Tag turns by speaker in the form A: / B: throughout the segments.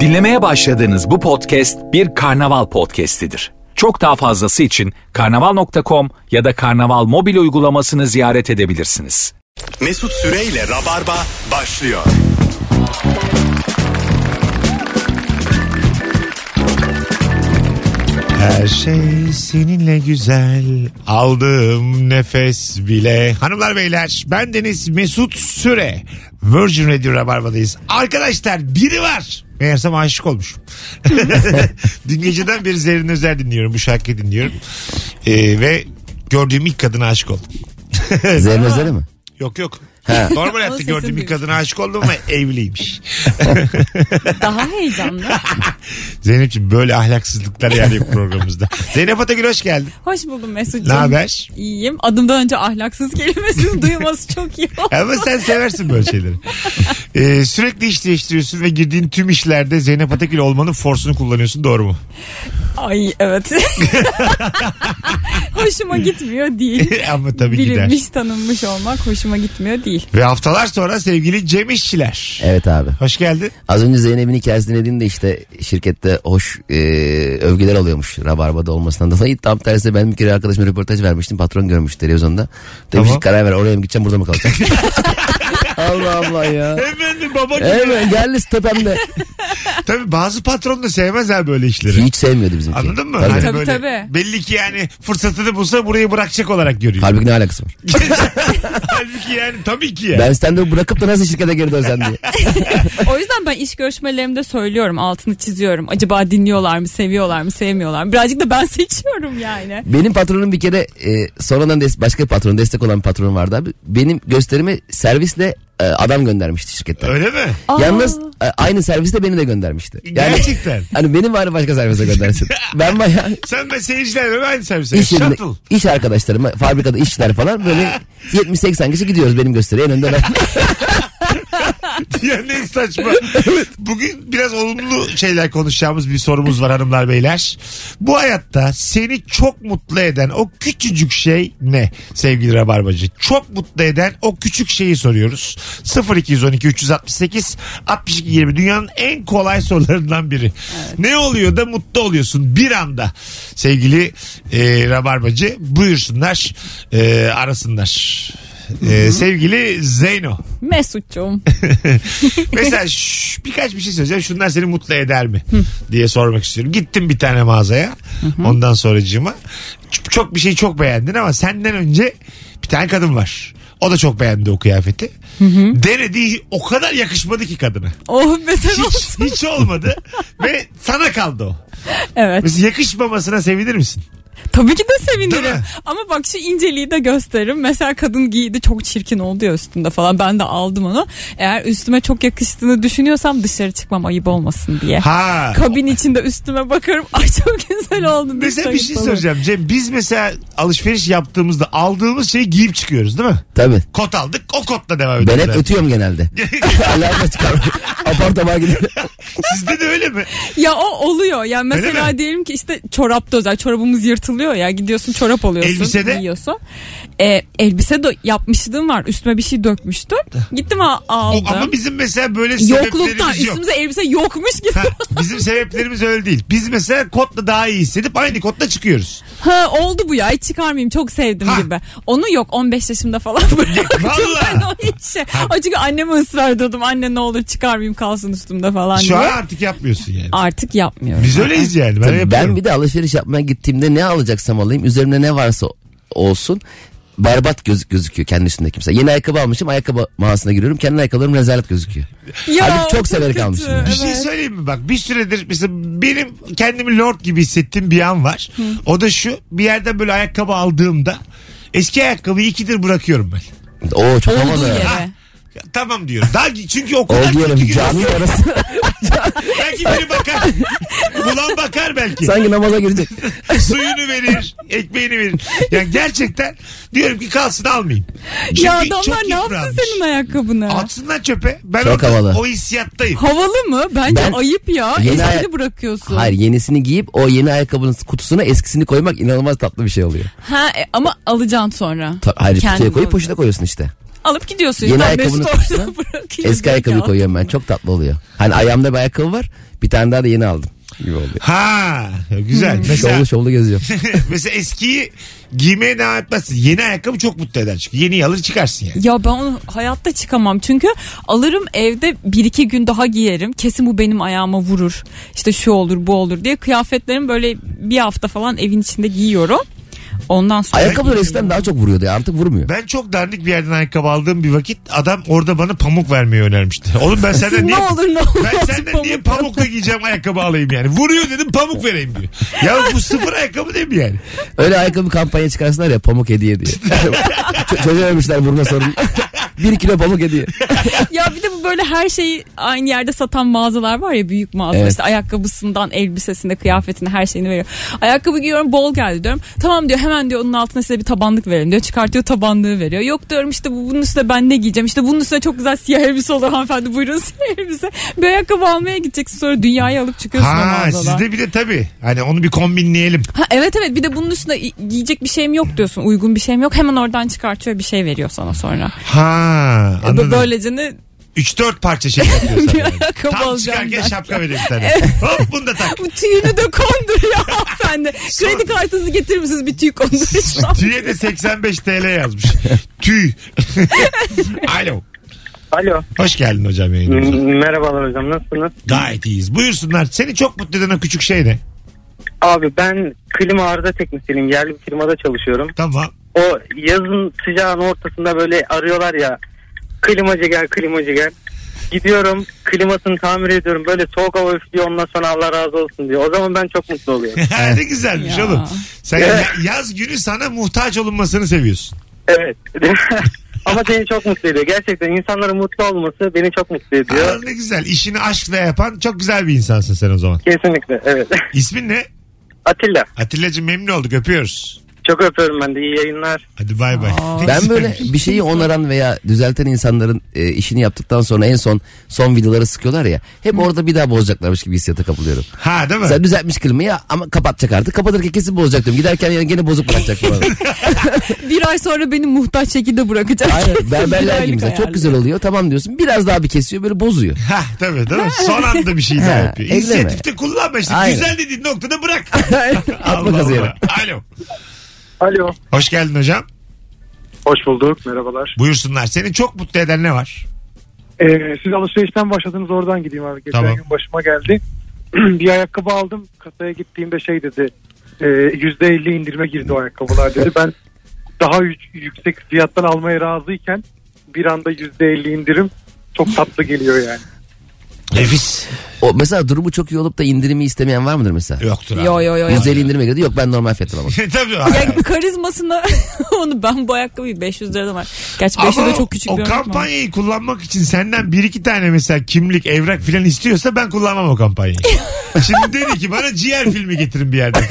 A: Dinlemeye başladığınız bu podcast bir karnaval podcastidir. Çok daha fazlası için karnaval.com ya da karnaval mobil uygulamasını ziyaret edebilirsiniz.
B: Mesut Süreyle Rabarba başlıyor.
C: Her şey seninle güzel. Aldığım nefes bile. Hanımlar beyler ben Deniz Mesut Süre. Virgin Radio Rabarba'dayız. Arkadaşlar biri var. Meğersem aşık olmuş. Dün geceden beri Zerrin Özer dinliyorum. Bu şarkıyı dinliyorum. Ee, ve gördüğüm ilk kadına aşık oldum.
D: Zerrin Özer'e mi?
C: Yok yok. Normal hayatta
E: sesini
C: gördüğüm bir
E: duymuş.
C: kadına aşık oldum ama evliymiş.
E: Daha heyecanlı.
C: Zeynep'ciğim böyle ahlaksızlıklar yani bu programımızda. Zeynep Atagül hoş geldin.
E: Hoş buldum Mesut'cum.
C: Ne haber?
E: İyiyim. Adımdan önce ahlaksız kelimesini duyması çok iyi oldu.
C: Ama sen seversin böyle şeyleri. Ee, sürekli iş değiştiriyorsun ve girdiğin tüm işlerde Zeynep Atakül olmanın forsunu kullanıyorsun doğru mu?
E: Ay evet. hoşuma gitmiyor değil.
C: Ama tabii
E: Bilinmiş
C: gider.
E: tanınmış olmak hoşuma gitmiyor değil.
C: Ve haftalar sonra sevgili Cem İşçiler.
D: Evet abi.
C: Hoş geldin.
D: Az önce Zeynep'in hikayesini dinlediğimde işte şirkette hoş e, övgüler alıyormuş Rabarba'da olmasından dolayı. Tam tersi ben bir kere arkadaşıma röportaj vermiştim. Patron görmüş televizyonda. Demiş
C: Tamam.
D: ki karar ver oraya mı gideceğim burada mı kalacağım? Allah Allah ya.
C: Hemen bir baba gibi.
D: Evet geldi tepemde.
C: Tabii bazı patron da sevmez ha böyle işleri.
D: Hiç sevmiyordu bizimki.
C: Anladın mı?
D: Tabii.
C: Hani
E: Tabii,
C: böyle
E: tabii.
C: Belli ki yani fırsatını bulsa burayı bırakacak olarak görüyor.
D: Halbuki ne alakası var?
C: Halbuki yani tabii ki yani.
D: Ben stand bırakıp da nasıl şirkete geri dönsem diye.
E: O yüzden ben iş görüşmelerimde söylüyorum. Altını çiziyorum. Acaba dinliyorlar mı, seviyorlar mı, sevmiyorlar mı? Birazcık da ben seçiyorum yani.
D: Benim patronum bir kere e, sonradan des- başka bir patron destek olan bir patronum vardı abi. Benim gösterime servisle e, adam göndermişti şirketten.
C: Öyle mi?
E: Aa.
D: Yalnız e, aynı serviste beni de göndermişti. Yani
C: Gerçekten.
D: hani beni bari başka servise göndersin. ben bayağı
C: Sen ben seyircilerle aynı servise.
D: iş, yerinde,
C: E, Shuttle.
D: iş arkadaşlarıma, fabrikada işçiler falan böyle 70-80 kişi gidiyoruz benim gösteriye. En önde ben.
C: ya ne saçma. Bugün biraz olumlu şeyler konuşacağımız bir sorumuz var hanımlar beyler. Bu hayatta seni çok mutlu eden o küçücük şey ne sevgili Rabarbacı? Çok mutlu eden o küçük şeyi soruyoruz. 0212 368 62 20 dünyanın en kolay sorularından biri. Ne oluyor da mutlu oluyorsun bir anda sevgili e, Rabarbacı buyursunlar e, arasınlar. E, sevgili Zeyno.
E: Mesut'cum.
C: Mesela şş, birkaç bir şey söyleyeceğim. Şunlar seni mutlu eder mi? diye sormak istiyorum. Gittim bir tane mağazaya. Ondan sonracığıma. Çok, çok bir şeyi çok beğendin ama senden önce bir tane kadın var. O da çok beğendi o kıyafeti. Denedi o kadar yakışmadı ki kadına.
E: Oh beter olsun.
C: Hiç, hiç olmadı ve sana kaldı o.
E: Evet.
C: Mesela yakışmamasına sevinir misin?
E: Tabii ki de
C: Değil mi?
E: sevinirim. Ama bak şu inceliği de gösteririm. Mesela kadın giydi çok çirkin oldu ya üstünde falan. Ben de aldım onu. Eğer üstüme çok yakıştığını düşünüyorsam dışarı çıkmam ayıp olmasın diye.
C: Ha.
E: Kabin içinde üstüme bakarım. Ay çok güzel oldu. diye
C: Mesela bir şey
E: sayıp alırım.
C: soracağım Cem. Biz mesela alışveriş yaptığımızda aldığımız şeyi giyip çıkıyoruz değil mi?
D: Tabii.
C: Kot aldık o kotla devam
D: Ben
C: ediyoruz.
D: hep ötüyorum genelde. Alarma çıkar. Apar topar gidiyorum.
C: Sizde de öyle mi?
E: Ya o oluyor. Ya
C: mi?
E: mesela diyelim ki işte çorapta özel. Çorabımız yırtılıyor ya. Gidiyorsun çorap alıyorsun.
C: Elbisede?
E: Giyiyorsun. Ee, elbise de yapmışlığım var. Üstüme bir şey dökmüştüm. Gittim a- aldım.
C: Ama bizim mesela böyle
E: Yokluktan
C: sebeplerimiz yok.
E: üstümüze elbise yokmuş gibi.
C: Ha, bizim sebeplerimiz öyle değil. Biz mesela kotla daha iyi hissedip aynı kotla çıkıyoruz.
E: Ha oldu bu ya hiç çıkarmayayım çok sevdim
C: Ha.
E: gibi. Onu yok 15 yaşımda falan bıraktım
C: Vallahi.
E: ben o işi. O çünkü anneme ısrar ediyordum anne ne olur çıkarmayayım kalsın üstümde falan
C: Şu
E: diye.
C: an artık yapmıyorsun yani.
E: Artık yapmıyorum.
C: Biz öyleyiz yani. Ben,
D: Tabii
C: yapıyorum.
D: Hani ben bir de alışveriş yapmaya gittiğimde ne alacaksam alayım üzerimde ne varsa olsun berbat göz, gözüküyor kendi üstündeki mesela. Yeni ayakkabı almışım ayakkabı mağazasına giriyorum kendi ayakkabılarım rezalet gözüküyor.
E: Ya,
D: Halbuki çok severek
E: kötü.
D: almışım yani.
C: Bir
E: Evet.
C: şey söyleyeyim mi bak bir süredir mesela benim kendimi lord gibi hissettiğim bir an var. O da şu bir yerden böyle ayakkabı aldığımda eski ayakkabıyı ikidir bırakıyorum ben.
D: Oo çok
E: Olduğu
D: havalı.
E: yere.
C: Ha. Ya, tamam diyorum. Daha çünkü o kadar
D: Oldu
C: kötü
D: yerim
C: ki.
D: cami arası.
C: Belki biri bakar. Bulan bakar belki.
D: Sanki namaza girecek.
C: suyunu verir, ekmeğini verir. Yani gerçekten diyorum ki kalsın almayayım. Çünkü
E: Ya adamlar
C: çok
E: ne yapsın
C: yıpranmış.
E: senin ayakkabını?
C: Atsınlar çöpe. Ben
D: Çok
C: orada
D: havalı.
C: o hissiyattayım.
E: Havalı mı? Bence
D: Ben-
E: ayıp ya.
D: Yeni
E: Eskini
D: aya-
E: bırakıyorsun.
D: Hayır yenisini giyip o yeni ayakkabının kutusuna eskisini koymak inanılmaz tatlı bir şey oluyor.
E: Ha e, ama alacaksın sonra.
D: Ta- Hayır
E: Kendin
D: kutuya koyup
E: alacaksın.
D: poşete koyuyorsun işte.
E: Alıp gidiyorsun.
D: Yeni
E: Ya
D: ayakkabının
E: Mesut orada
D: kutusuna
E: bırakıyor.
D: Eski ayakkabıyı koyuyorum ben. Çok tatlı oluyor. Hani ayağımda bir ayakkabı var. Bir tane daha da yeni aldım. Gibi oluyor.
C: Ha güzel.
D: Hmm.
C: Mesela,
D: Şovlu şovlu geziyorum.
C: mesela eskiyi giymeye devam etmezsin. Yeni ayakkabı çok mutlu eder çünkü. Yeni alır çıkarsın yani.
E: Ya ben onu hayatta çıkamam çünkü alırım evde bir iki gün daha giyerim kesin bu benim ayağıma vurur işte şu olur bu olur diye kıyafetlerimi böyle bir hafta falan evin içinde giyiyorum ondan sonra
D: Ayakkabılar eskiden daha çok vuruyordu ya. Artık vurmuyor.
C: Ben çok dandik bir yerden ayakkabı aldığım bir vakit adam orada bana pamuk vermeyi önermişti. Oğlum ben senden
E: ne
C: niye
E: olur ne olur
C: ben senden niye pamukla giyeceğim ayakkabı alayım yani. Vuruyor dedim pamuk vereyim diyor. Ya bu sıfır ayakkabı değil mi yani?
D: Öyle ayakkabı kampanya çıkarsınlar ya pamuk hediye diye. Ç- Çocuğa vermişler vurma sorun. bir kilo pamuk hediye.
E: ya bir de bu böyle her şeyi aynı yerde satan mağazalar var ya büyük mağazalar
D: Evet.
E: işte ayakkabısından elbisesine kıyafetine her şeyini veriyor. Ayakkabı giyiyorum bol geldi diyorum. Tamam diyor hemen diyor onun altına size bir tabanlık verelim diyor. Çıkartıyor tabanlığı veriyor. Yok diyorum işte bu, bunun üstüne ben ne giyeceğim işte bunun üstüne çok güzel siyah elbise olur hanımefendi buyurun siyah elbise. Bir ayakkabı almaya gideceksin sonra dünyayı alıp çıkıyorsun o
C: Ha
E: mağazadan.
C: sizde bir de tabii. Hani onu bir kombinleyelim.
E: Ha, evet evet bir de bunun üstüne i- giyecek bir şeyim yok diyorsun uygun bir şeyim yok hemen oradan çıkartıyor bir şey veriyor sana sonra.
C: Ha anladım.
E: Böylece ne
C: 3-4 parça şey yapıyor sana.
E: bir
C: yani.
E: ayakkabı
C: Tam
E: alacağım
C: çıkarken
E: ben.
C: şapka veriyor bir tane. Hop bunu da tak.
E: Bu tüyünü de konduruyor hanımefendi. Kredi kartınızı getirir misiniz bir tüy konduracağım.
C: Tüye de 85 TL yazmış. Tüy. Alo.
F: Alo.
C: Hoş geldin hocam yayınımıza.
F: M- Merhabalar hocam nasılsınız?
C: Gayet iyiyiz. Buyursunlar. Seni çok mutlu eden o küçük şey ne?
F: Abi ben klima arıza teknisyeniyim. Yerli bir firmada çalışıyorum.
C: Tamam.
F: O yazın sıcağın ortasında böyle arıyorlar ya. Klimacı gel klimacı gel. Gidiyorum klimasını tamir ediyorum. Böyle soğuk hava üflüyor ondan sonra Allah razı olsun diyor. O zaman ben çok mutlu oluyorum.
C: ne güzelmiş
E: Ya.
C: oğlum. Sen
F: Evet.
C: ya- yaz günü sana muhtaç olunmasını seviyorsun.
F: evet. Ama beni çok mutlu ediyor. Gerçekten insanların mutlu olması beni çok mutlu
C: Aa,
F: ediyor.
C: ne güzel. İşini aşkla yapan çok güzel bir insansın sen o zaman.
F: Kesinlikle evet.
C: İsmin ne?
F: Atilla
C: Atilla'cığım memnun olduk. Öpüyoruz.
F: çok öpüyorum ben de iyi yayınlar.
C: Hadi bay bay. Ne
D: Ben böyle
C: güzelmiş.
D: bir şeyi onaran veya düzelten insanların e, işini yaptıktan sonra en son son videoları sıkıyorlar ya. Hep orada bir daha bozacaklarmış gibi hissiyata kapılıyorum.
C: Ha değil mi?
D: Mesela düzeltmiş klimayı ama kapatacak artık. Kapatırken kesin bozacak diyorum. Giderken yani gene bozuk bırakacak falan.
E: bir ay sonra beni muhtaç şekilde bırakacak.
D: Aynen berberler
E: Güzellik
D: gibi mesela.
E: hayali.
D: Çok güzel oluyor. Tamam diyorsun. Biraz daha bir kesiyor böyle bozuyor.
C: Ha tabii değil mi? Son anda bir şey daha
D: Ha,
C: yapıyor.
D: elleme.
C: İnisiyatifte kullanma işte.
D: Aynen.
C: Güzel dediğin noktada bırak.
D: Atma
C: Allah
D: gazı yere.
C: Allah. Alo.
G: Alo.
C: Hoş geldin hocam.
G: Hoş bulduk. Merhabalar.
C: Buyursunlar. Seni çok mutlu eden ne var?
G: Ee, siz alışverişten başladınız oradan gideyim abi. Geçen
C: Tamam.
G: gün başıma geldi. bir ayakkabı aldım. Kasaya gittiğimde şey dedi. e, %50 indirime girdi o ayakkabılar dedi. Ben daha yü- yüksek fiyattan almaya razıyken bir anda %50 indirim çok tatlı geliyor yani.
C: Nefis.
D: O mesela durumu çok iyi olup da indirimi istemeyen var mıdır mesela?
C: Yoktur abi.
E: Yo yo yo. yo.
D: %50 indirime girdi. Yok ben normal fiyattan alamam.
C: tabii.
E: Ya karizmasına onu ben bu ayakkabıyı 500 liradan var. Gerçi 500 de çok küçük
C: o
E: bir örnek ama.
C: kampanyayı kullanmak için senden bir iki tane mesela kimlik, evrak filan istiyorsa ben kullanmam o kampanyayı. Şimdi dedi ki bana ciğer filmi getirin bir yerden.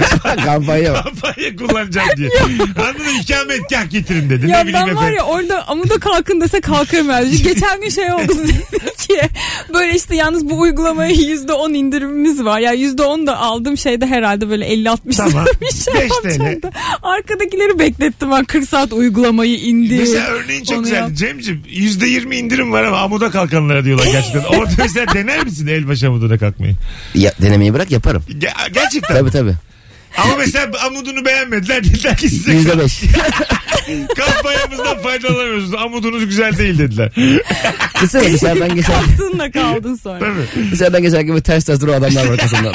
D: Kampanya var.
C: Kampanya kullanacağım diye. Anladın mı? İkametgah getirin dedi.
E: Ya
C: ne bileyim
E: ben var
C: efendim.
E: ya orada amuda kalkın dese kalkarım ben. Geçen gün şey oldu dedi ki böyle işte yalnız bu uygulamaya yüzde on indirimimiz var. Ya yüzde on da aldım şeyde herhalde böyle 50-60
C: Tamam.
E: bir şey
C: Beş TL.
E: yapacaktı. Arkadakileri beklettim ben 40 saat uygulamayı indir.
C: Mesela örneğin çok
E: Onu
C: güzel.
E: yap.
C: Cem'ciğim yüzde yirmi indirim var ama amuda kalkanlara diyorlar gerçekten. Orada mesela dener misin elbaşı amuduna kalkmayı?
D: Ya, denemeyi bırak yaparım.
C: Ge- gerçekten.
D: Tabii tabii.
C: Ama mesela amudunu beğenmediler. Dediler ki size
D: %5.
C: kampanyamızdan faydalanamıyorsunuz. Amudunuz güzel değil dediler.
D: Kısa dışarıdan geçer.
E: Kalktığında kaldın sonra.
C: Tabii.
D: Dışarıdan geçerken böyle ters ters duran adamlar var kasımdan.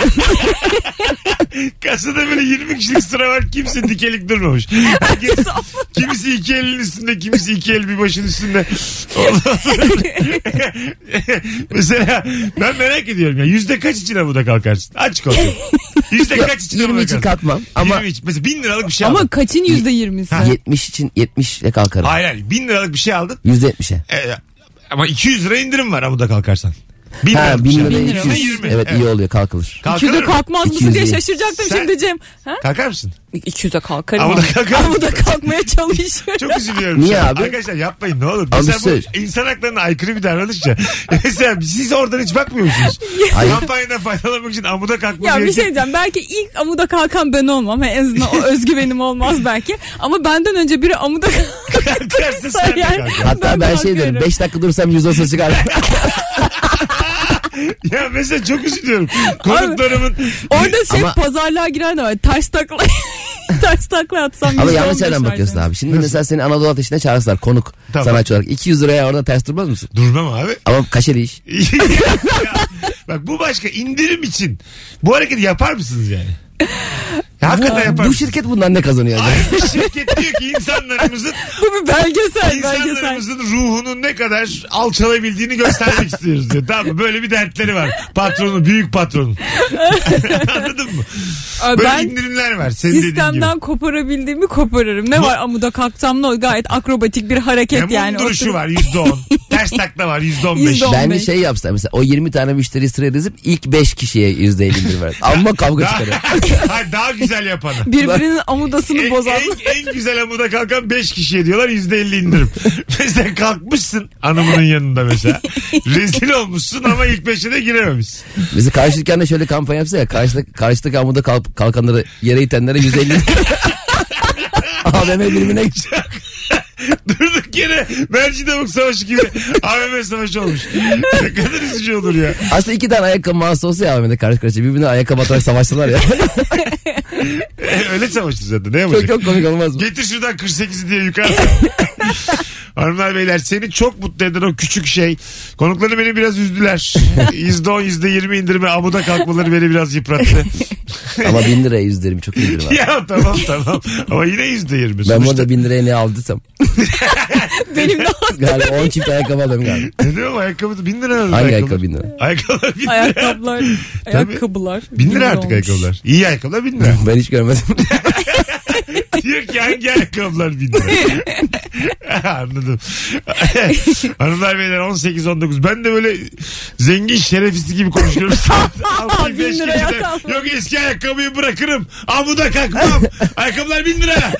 C: Kasada böyle 20 kişilik sıra var. Kimse dikelik durmamış. Herkes, kimisi iki elin üstünde, kimisi iki el bir başın üstünde. Ondan sonra- Mesela ben merak ediyorum ya. Yüzde kaç için amuda kalkarsın? Aç konuyu. Yüzde kaç için
D: 20
C: amuda
D: için
C: kalkarsın?
D: kalkmam ama
C: 20 için. Mesela bin liralık bir şey aldın.
E: Ama kaçın yüzde yirmisi?
D: 70 için 70 ile kalkarım.
C: Hayır hayır. Bin liralık bir şey aldın.
D: %70'e.
C: Ee, ama 200 lira indirim var amuda kalkarsan. Bin
D: Ha,
C: lira
D: bin
C: tutacağım.
D: liraya
E: Bin lira.
D: 200.
C: Yirmi.
D: Evet, iyi oluyor kalkılır.
C: Kalkar
E: Yüze
C: mı?
E: kalkmaz mısın
D: 200
E: diye
D: değil.
E: şaşıracaktım
C: Sen-
E: şimdi Cem. Ha?
C: Kalkar mısın?
E: 200'e kalkarım.
C: Ama
E: Ama
C: da kalkar.
E: Ama da kalkmaya çalışırım.
C: Çok üzülüyorum.
D: Niye
C: şu an.
D: abi?
C: Arkadaşlar yapmayın ne olur.
D: Abi şey-
C: Mesela
D: söyle.
C: bu insan haklarına aykırı bir davranış ya. Mesela siz oradan hiç bakmıyor musunuz?
D: Hayır.
C: Kampanyadan faydalanmak için amuda kalkmak
E: Ya bir şey
C: gerekiyor.
E: diyeceğim belki ilk amuda kalkan ben olmam. En azından o özgüvenim olmaz belki. Ama benden önce biri amuda
C: Kalkarsın sen de
E: yani
C: kalkar.
D: Hatta ben şey
E: kalkarım.
D: derim 5 dakika dursam yüz olsa çıkar.
C: Ya mesela çok üzülüyorum. Konuklarımın
E: Orada şey
D: Ama-
E: pazarlığa girer de var. Ters takla. ters takla atsam.
D: Ama
E: yüzde
D: yanlış
E: on beş
D: yerden
E: var
D: bakıyorsun
E: senin.
D: abi. Şimdi mesela seni Anadolu Ateşi'ne çağırsalar konuk
C: Tamam.
D: sanatçı olarak. 200 liraya orada ters durmaz mısın?
C: durmam abi.
D: Ama kaşeli iş.
C: Ya, Bak bu başka indirim için. Bu hareketi yapar mısınız yani? Ya, hakikaten yapar
D: Bu
C: mısınız?
D: şirket bundan ne kazanıyor? acaba?
C: Aynı şirket diyor ki insanlarımızın
E: Bu bir belgesel belgesel.
C: insanlarımızın ruhunun ne kadar alçalabildiğini göstermek istiyoruz diyor. Tamam mı? böyle bir dertleri var. Patronu, büyük patronun. Anladın mı?
E: Aa,
C: Böyle
E: Ben
C: indirimler var. Senin dediğin gibi.
E: sistemden koparabildiğimi koparırım. Ne var amuda kalksam ne olur? Gayet akrobatik bir hareket
C: Hem
E: yani.
C: yani duruşu
E: Oturup-
C: var yüzde on. Ters takla var yüzde on beş.
E: Yüzde on
D: Ben de
E: beş.
D: şey yapsam mesela o 20 tane müşteri sıraya dizip ilk 5 kişiye %50 indirim verdim. Ama kavga
C: Daha,
D: çıkarıyor.
C: Hayır, daha güzel yapanı.
E: Birbirinin amudasını
C: En,
E: bozan.
C: en, en güzel amuda kalkan 5 kişiye diyorlar yüzde elli indirim. mesela kalkmışsın anamının yanında mesela. Rezil olmuşsun ama ilk beşe de girememişsin.
D: Bizi karşı dükkanda şöyle kampanya yapsa ya karşıdaki, karşıdaki amuda kalk, kalkanları yere itenlere %50 indirim. AVM birimine gidecek.
C: Durduk yere Mercidabuk Savaşı gibi AVM Savaşı olmuş. ne kadar üzücü olur ya.
D: Aslında iki tane ayakkabı mağazası olsa ya AVM'de karşı karşıya birbirine ayakkabı atarak savaştılar ya.
C: E, öyle savaşır zaten ne
D: çok
C: yapacak?
D: çok komik olmaz mı?
C: Getir şuradan 48'i diye yukarı. Hanımlar beyler seni çok mutlu eden o küçük şey. Konukları beni biraz üzdüler. %10 %20 indirme amuda kalkmaları beni biraz yıprattı.
D: Ama 1000 liraya %20 çok indirim var.
C: ya tamam tamam ama yine %20.
D: Ben
C: Ben
D: burada 1000 liraya ne aldıysam.
E: Benim de
D: Galiba 10 çift ayakkabı aldım galiba.
C: Ne diyorum ayakkabı 1000 lira herhalde
D: Hangi ayakkabı 1000 lira?
C: Ayakkabılar 1000 lira.
E: ayakkabılar. ayakkabılar.
C: 1000 lira artık
E: olmuş.
C: ayakkabılar. İyi ayakkabılar 1000 lira.
D: Ben hiç görmedim.
C: Diyor ki hangi ayakkabılar 1000 lira. Anladım. Hanımlar beyler 18-19. Ben de böyle zengin şerefisi gibi konuşuyorum. Saat altı,
E: Bin
C: beş
E: liraya
C: geceden,
E: kalmadı.
C: Yok eski ayakkabıyı bırakırım. Amuda kalkmam. Ayakkabılar 1000 lira.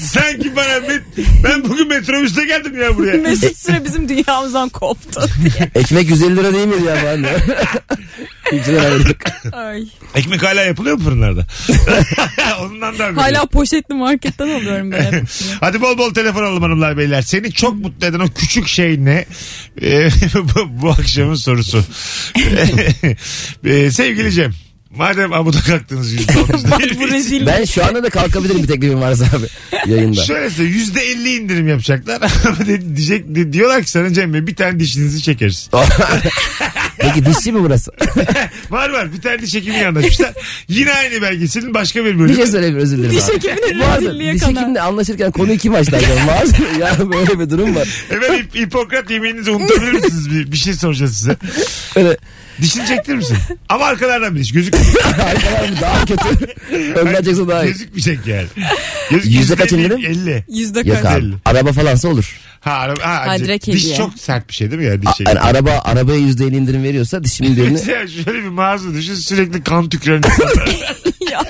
C: Sanki bana met- ben bugün metrobüste geldim ya buraya.
E: Mesut Süre bizim dünyamızdan koptu.
D: Ekmek 150 lira değil miydi ya falan diyor. Hiç de vermedik.
E: Ay.
C: Ekmek hala yapılıyor mu fırınlarda? Ondan da haberim yok.
E: Hala poşetli marketten alıyorum ben. hep.
C: Hadi bol bol telefon alalım hanımlar beyler. Seni çok mutlu eden o küçük şey ne? Ee, bu, bu akşamın sorusu. Ee, sevgili Cem. Madem amuda kalktınız yüzde
E: Bak bu rezil.
D: Ben şu anda da kalkabilirim bir teklifim varsa abi yayında.
C: Şöyle size yüzde elli indirim yapacaklar. Ama de- Diyecek, di- diyorlar ki sana Cem Bey bir tane dişinizi çekeriz.
D: Peki dişçi mi burası?
C: var var bir tane diş hekimiyle anlaşmışlar. Yine aynı belgeselin başka bir
D: Bir
C: bölümü.
D: şey söyleyeyim özür dilerim.
E: Diş
D: abi.
E: hekiminin
D: Bu arada
E: rezilliğe
D: diş
E: kadar.
D: hekimle anlaşırken konuyu kim başlar? ya? Mağaza- ya böyle bir durum var.
C: Hemen Hip- Hipokrat yemeğinizi unutabilir misiniz? Bir, bir şey soracağız size.
D: Öyle
C: Dişini çektirir misin? Ama arkalardan bir diş gözükmüyor.
D: arkalar mı daha kötü. Önden çekse daha iyi.
C: Gözükmeyecek yani. Gözük,
D: Yüzde kaç indirim?
C: 50.
E: Yüzde
D: Yok
E: kaç.
D: abi. Araba falansa olur.
C: Ha, araba, ha,
E: Ha,
C: c-
E: direkt
C: diş
E: hediye.
C: çok sert bir şey değil mi yani diş
D: A-
C: şey.
D: yani araba arabaya yüzde elli indirim veriyorsa dişimin birini
C: Mesela şöyle bir mağaza düşün sürekli kan tüküren insanlar.
E: Ya.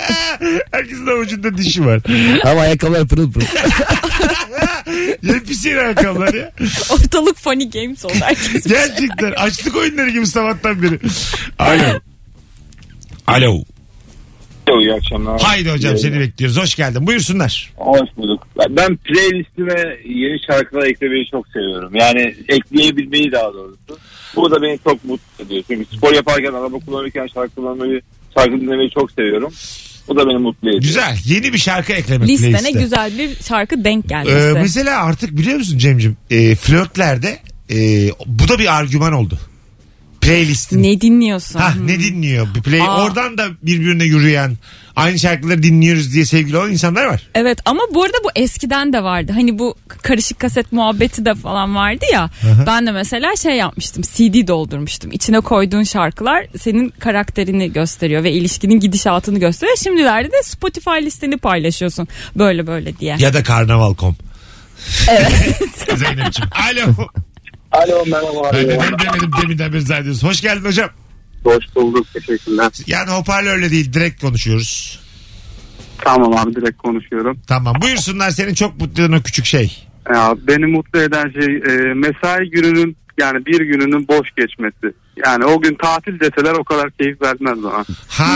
C: Herkesin avucunda dişi var.
D: ama ayakkabılar pırıl pırıl.
C: Yepis yeni ayakkabılar ya.
E: Ortalık funny games oldu herkes.
C: Gerçekten açlık oyunları gibi sabahtan beri. Alo. Alo.
H: Alo iyi akşamlar.
C: Haydi hocam
H: İyi
C: seni bekliyoruz. Hoş geldin. Buyursunlar.
H: Hoş bulduk. Ben playlistime yeni şarkılar eklemeyi çok seviyorum. Yani ekleyebilmeyi daha doğrusu. Bu da beni çok mutlu ediyor. Çünkü spor yaparken, araba kullanırken şarkı kullanmayı, şarkı dinlemeyi çok seviyorum. Bu da beni mutlu ediyor.
C: Güzel. Yeni bir şarkı eklemek
E: Listene
C: playliste.
E: güzel bir şarkı denk gelmesi.
C: Ee, mesela artık biliyor musun Cem'cim e, flörtlerde e, bu da bir argüman oldu. Playlistin.
E: ne dinliyorsun? Hmm.
C: Ha ne dinliyor? Bir play
E: Aa.
C: oradan da birbirine yürüyen aynı şarkıları dinliyoruz diye sevgili olan insanlar var.
E: Evet ama bu arada bu eskiden de vardı. Hani bu karışık kaset muhabbeti de falan vardı ya. Ben de mesela şey yapmıştım. CD doldurmuştum. İçine koyduğun şarkılar senin karakterini gösteriyor ve ilişkinin gidişatını gösteriyor. Şimdilerde de Spotify listeni paylaşıyorsun. Böyle böyle diye.
C: Ya da karnaval.com. Evet. Zeynep'ciğim. Alo.
H: Alo merhaba.
C: Ben neden demedim deminden beri zannediyorsun. Hoş geldin hocam.
H: Hoş bulduk teşekkürler.
C: Yani hoparlörle değil direkt konuşuyoruz.
H: Tamam abi direkt konuşuyorum.
C: Tamam buyursunlar senin çok mutlu eden o küçük şey.
H: Ya, beni mutlu eden şey e, mesai gününün yani bir gününün boş geçmesi. Yani o gün tatil deseler o kadar keyif vermez bana.
C: Ha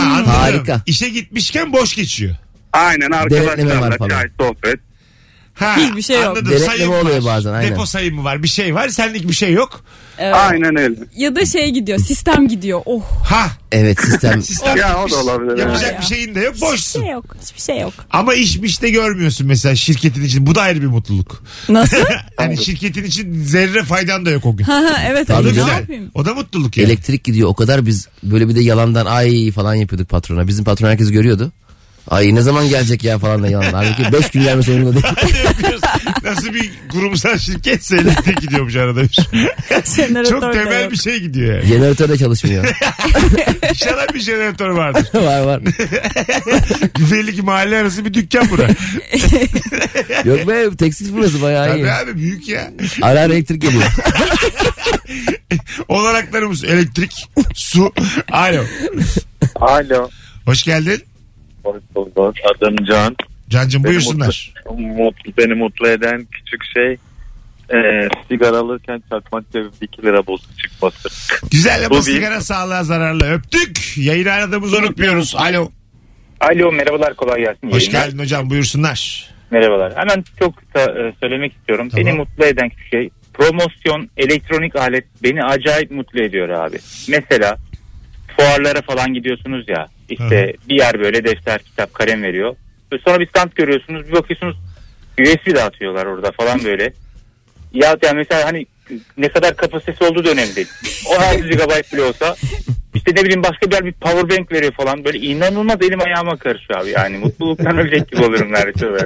E: Hmm.
C: anladım.
D: Harika.
C: İşe gitmişken boş geçiyor.
H: Aynen
D: Denetleme var
H: arkadaşlarla
D: falan.
H: çay sohbet.
C: Ha,
E: Hiçbir şey yok.
C: Anladım.
D: Denetleme
C: Sayım var.
D: oluyor bazen, aynen.
C: Depo sayımı var bir şey var senlik bir şey yok.
E: Ee,
H: Aynen öyle.
E: ya da şey gidiyor sistem gidiyor. Oh
C: Ha
D: Evet sistem
C: sistem
H: Ya, o da
C: gitmiş.
H: olabilir, evet.
C: Yapacak
E: Ya.
C: bir şeyin de yok boşsun.
E: hiçbir şey yok. Hiçbir şey yok.
C: Ama iş miş de görmüyorsun mesela şirketin için. Bu da ayrı bir mutluluk.
E: Nasıl?
C: Yani şirketin için zerre faydan da yok o gün.
E: Ha, ha, evet
C: O da
E: abi ne
C: güzel.
E: yapayım?
C: O da mutluluk yani.
D: elektrik gidiyor. O kadar biz böyle bir de yalandan ay falan yapıyorduk patrona. Bizim patron herkes görüyordu. Ay ne zaman gelecek ya falan da yalan. Halbuki 5 gün gelmesi umurunda değil.
C: Nasıl bir kurumsal şirketse elektrik gidiyormuş arada bir.
E: Jeneratör
C: Çok
E: de
C: temel
E: yok.
C: bir şey gidiyor yani.
D: Jeneratör de çalışmıyor.
C: İnşallah bir jeneratör vardır.
D: var var.
C: Belli ki mahalle arası bir dükkan bura.
D: Yok be tekstil burası bayağı iyi.
C: Tabii abi büyük ya.
D: Ara ara elektrik geliyor.
C: Olaraklarımız elektrik, su. Alo.
H: Alo.
C: Hoş geldin.
H: Hoş bulduk. Adım Can.
C: Cancım
H: Benim
C: buyursunlar.
H: Mutlu, beni mutlu eden küçük şey e, sigara alırken çakmak cebimde 2 lira bozuk çıkması.
C: Güzel ama
H: Bu bir-
C: sigara sağlığa zararlı. Öptük. Yayını aradığımızı unutmuyoruz. Alo.
I: Alo merhabalar kolay gelsin.
C: Hoş
I: Yayınlar.
C: geldin hocam buyursunlar.
I: Merhabalar. Hemen çok kısa e, söylemek istiyorum.
C: Tamam.
I: Beni mutlu eden şey promosyon elektronik alet beni acayip mutlu ediyor abi. Mesela fuarlara falan gidiyorsunuz ya işte bir yer böyle defter kitap kalem veriyor. Ve Sonra bir stand görüyorsunuz bir bakıyorsunuz USB dağıtıyorlar orada falan böyle. Ya yani mesela hani ne kadar kapasitesi olduğu da önemli değil. O her 100 GB bile olsa işte ne bileyim başka bir yer bir power bank veriyor falan. Böyle inanılmaz elim ayağıma karışıyor abi. Yani mutluluktan ölecek gibi olurum neredeyse böyle.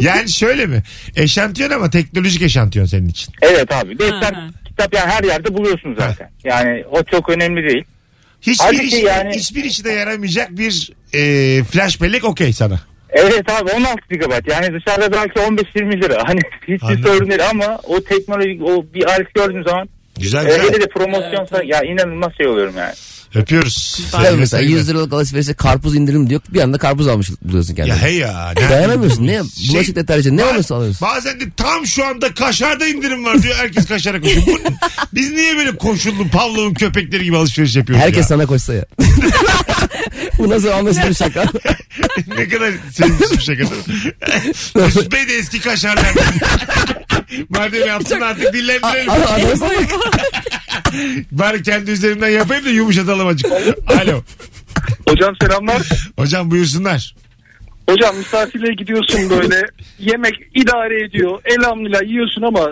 C: Yani şöyle mi? Eşantiyon ama teknolojik eşantiyon senin için.
I: Evet abi. Defter,
E: Hı hı.
I: kitap yani her yerde buluyorsun zaten. Yani o çok önemli değil.
C: Hiçbir,
I: Halbuki
C: işi,
I: yani-
C: hiçbir işi de yaramayacak bir e, flash bellek okey sana.
I: Evet abi 16 GB yani dışarıda belki 15-20 lira. Hani hiçbir
C: Anladım.
I: sorun değil ama o teknolojik o bir alet gördüğüm zaman
C: Güzel
I: öyle
C: güzel.
I: de promosyonsa ya inanılmaz şey oluyorum yani.
C: Öpüyoruz.
D: Yani
C: Sevgiler,
D: mesela
C: saygılar.
D: 100 liralık alışverişe karpuz indirim diyor. Bir anda karpuz almış buluyorsun kendini.
C: Ya hey ya. ne-
D: Dayanamıyorsun. Ne?
C: Şey-
D: Bulaşık deterjanı ne
C: Ba-
D: olursa alıyorsun.
C: Bazen de tam şu anda kaşarda indirim var diyor. Herkes kaşara koşuyor. Bu- biz niye böyle koşullu Pavlov'un köpekleri gibi alışveriş yapıyoruz
D: Herkes
C: ya?
D: sana koşsa ya. Bu nasıl anlaşılır şaka?
C: ne kadar sevgisiz bir şaka değil mi? Mesut Bey de eski kaşarlar. Madem yaptın artık dillendirelim.
D: Ama anlaşılır.
C: Bari kendi üzerimden yapayım da yumuşatalım acık. Alo.
H: Hocam selamlar.
C: Hocam buyursunlar.
H: Hocam misafirliğe gidiyorsun böyle yemek idare ediyor. Elhamdülillah yiyorsun ama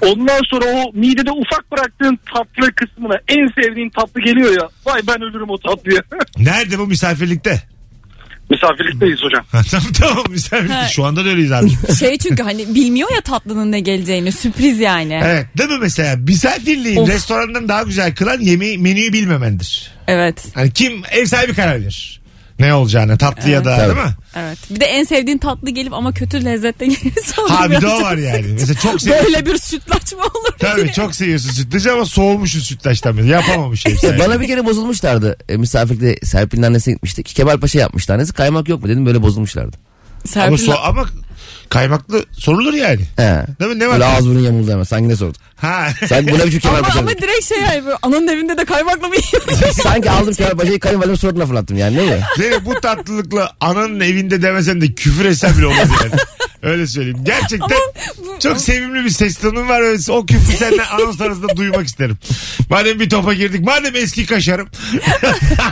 H: ondan sonra o midede ufak bıraktığın tatlı kısmına en sevdiğin tatlı geliyor ya. Vay ben ölürüm o tatlıya.
C: Nerede bu misafirlikte?
H: Misafirlikteyiz hocam.
C: Ha, tamam tamam misafirlikte.
E: Ha.
C: Şu anda da öyleyiz abi.
E: Şey çünkü hani bilmiyor ya tatlının ne geleceğini sürpriz yani. Evet.
C: Evet değil mi mesela misafirliği
E: Of.
C: restorandan daha güzel kılan yemeği menüyü bilmemendir.
E: Evet.
C: Hani kim ev sahibi karar verir. Ne olacağını tatlı ya da
D: Tabii.
C: değil mi?
E: Bir de en sevdiğin tatlı gelip ama kötü lezzette gelirse
C: Ha bir de o
E: birazcık
C: var yani.
E: sıkıntı.
C: Mesela çok seviyorsun.
E: Böyle bir sütlaç mı olur?
C: Tabii çok seviyorsun sütlacı ama soğumuşsun sütlaçtan beri. Yapamamış ev
D: Ya
C: sahibi.
D: bana bir kere bozulmuşlardı. E, misafirlikte Serpil'in annesine gitmiştik. Kemal Paşa yapmıştı annesi. Kaymak yok mu dedim böyle bozulmuşlardı.
C: ama,
E: Serpil
C: so- ama kaymaklı sorulur yani.
D: He.
C: Değil mi? Ne var?
D: Böyle ağız burun yamuldu hemen. Sanki ne sorduk?
C: Ha.
D: Sanki buna bir çocuk Kemal
E: ama,
D: Paşa.
E: ama
D: dedim.
E: direkt şey yani böyle ananın evinde de kaymakla mı yiyorsun?
D: Sanki aldım Kemal Paşa'yı kayınvalidemin suratına fırlattım yani ne ya?
C: Seni bu tatlılıkla ananın evinde demesen de küfür etsen bile olmaz yani. Öyle söyleyeyim. Gerçekten
E: bu-
C: çok sevimli bir ses tonun var. ve O küfrü senden anons arasında duymak isterim. Madem bir topa girdik. Madem eski kaşarım.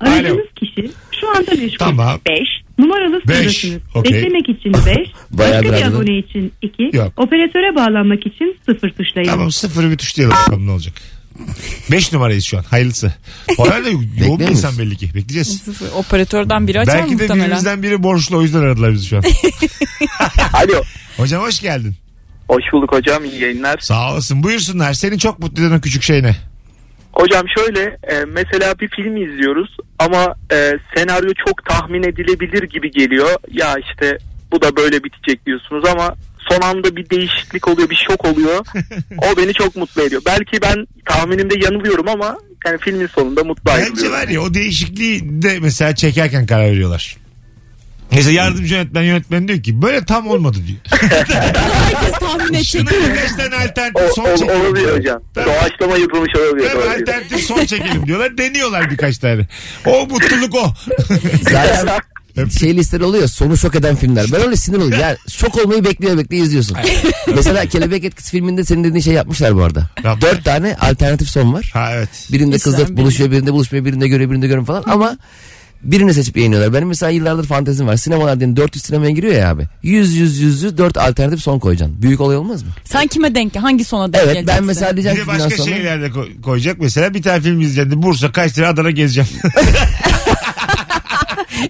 C: Alo.
J: Aradığınız kişi şu anda meşgul.
C: Tamam.
J: 5. Numaralı
C: Beş,
J: sıradasınız.
C: okey.
J: Beklemek için 5.
D: Bayağı
J: Başka
D: bir
J: bir
D: aradın.
J: abone için 2.
C: Yok.
J: Operatöre bağlanmak için 0 tuşlayın.
C: Tamam sıfırı bir tuşlayalım bakalım ne olacak. 5 numarayız şu an. Hayırlısı. Orada yoğun bir
D: Bekliyor
C: insan
D: musun?
C: belli ki. Bekleyeceğiz.
E: Sıfır. Operatörden biri açar
C: Belki de
E: muhtemelen.
C: birimizden biri borçlu o yüzden aradılar bizi şu an.
H: Alo.
C: Hocam hoş geldin.
H: Hoş bulduk hocam. iyi yayınlar.
C: Sağ olasın. Buyursunlar. Seni çok mutlu eden o küçük şey ne?
H: Hocam şöyle e, mesela bir film izliyoruz ama e, senaryo çok tahmin edilebilir gibi geliyor. Ya işte bu da böyle bitecek diyorsunuz ama
F: son anda bir değişiklik oluyor, bir şok oluyor. o beni çok mutlu ediyor. Belki ben tahminimde yanılıyorum ama yani filmin sonunda mutlu
C: Bence
F: ayrılıyorum.
C: var ya o değişikliği de mesela çekerken karar veriyorlar. Mesela yardımcı yönetmen yönetmen diyor ki böyle tam olmadı diyor.
E: Herkes tahmin edecek.
C: Şuna birkaç tane
F: O,
C: alternatif son
F: o,
C: çekelim.
F: olabilir
C: diyor.
F: hocam.
C: Tabii.
F: Doğaçlama yapılmış olabilir.
C: Tabii
F: olabilir.
C: alternatif son çekelim diyorlar. Deniyorlar birkaç tane. O mutluluk o.
D: Zaten şey listeler oluyor sonu şok eden filmler. Ben öyle sinir oluyorum. Ya şok olmayı bekleye bekleye izliyorsun. Mesela Kelebek Etkisi filminde senin dediğin şey yapmışlar bu arada.
C: Yapmışlar.
D: Dört tane alternatif son var.
C: ha evet.
D: Birinde
E: İslam
D: kızla
E: bilimi.
D: buluşuyor, birinde buluşmuyor, birinde görüyor, birinde görüyor falan ama birini seçip yayınlıyorlar. Benim mesela yıllardır fantezim var. Sinemalar diye 400 sinemaya giriyor ya abi. 100 100 100 100 4 alternatif son koyacaksın. Büyük olay olmaz mı?
E: Sen kime denk? Hangi sona denk
D: Evet ben
E: geleceksin?
D: mesela
C: Bir
D: diyeceğim
C: de
D: ki bundan
C: başka şey-
D: sonra
C: şeyler de koy- koyacak. Mesela bir tane film izlendi. Bursa Kayseri Adana gezeceğim.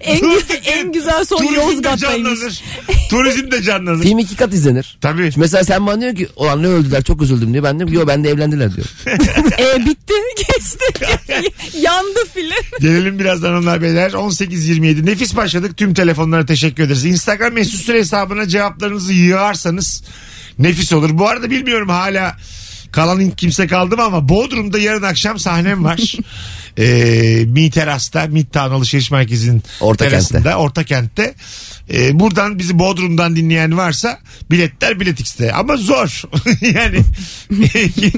E: en, en güzel son
C: Turizm de
E: Yozgat'taymış.
C: canlanır. Turizm de canlanır.
D: film iki kat izlenir.
C: Tabii.
D: Şimdi Mesela sen bana diyor ki ulan ne öldüler çok üzüldüm diyor. Ben diyorum ki yo ben de evlendiler diyor.
E: E, bitti geçti. Yandı film.
C: Gelelim birazdan onlar beyler. 18.27 nefis başladık. Tüm telefonlara teşekkür ederiz. Instagram mesut süre hesabına cevaplarınızı yığarsanız nefis olur. Bu arada bilmiyorum hala kalan ilk kimse kaldı mı ama Bodrum'da yarın akşam sahnem var. ee, Mi Teras'ta, Mi Town Alışveriş Merkezi'nin
D: Orta
C: terasında, Orta Kent'te. Ee, buradan bizi Bodrum'dan dinleyen varsa biletler biletikste ama zor. yani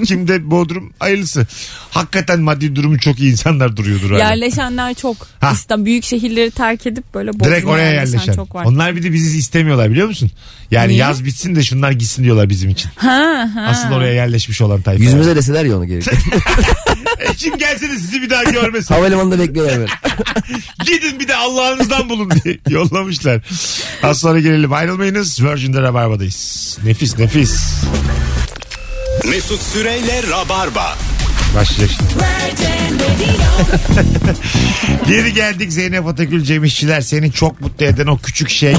C: kimde Bodrum hayırlısı. Hakikaten maddi durumu çok iyi insanlar duruyordur. Hani abi.
E: Yerleşenler çok.
C: Ha.
E: İşte büyük şehirleri terk edip böyle Bodrum'a
C: Direkt oraya yerleşen.
E: çok var.
C: Onlar bir de bizi istemiyorlar biliyor musun? Yani
E: Niye?
C: yaz bitsin de şunlar gitsin diyorlar bizim için.
E: Ha, ha.
C: Asıl oraya yerleşmiş olan tayfa.
D: Yüzümüze deseler ya onu gerekir.
C: E, Kim gelse de sizi bir daha görmesin.
D: Havalimanında bekliyorlar böyle.
C: Gidin bir de Allah'ınızdan bulun diye yollamışlar. Az sonra gelelim ayrılmayınız. Virgin'de Rabarba'dayız. Nefis nefis.
B: Mesut Süreyle Rabarba.
C: Başlayacak şimdi. Geri geldik Zeynep Atakül Cem İşçiler. Seni çok mutlu eden o küçük şey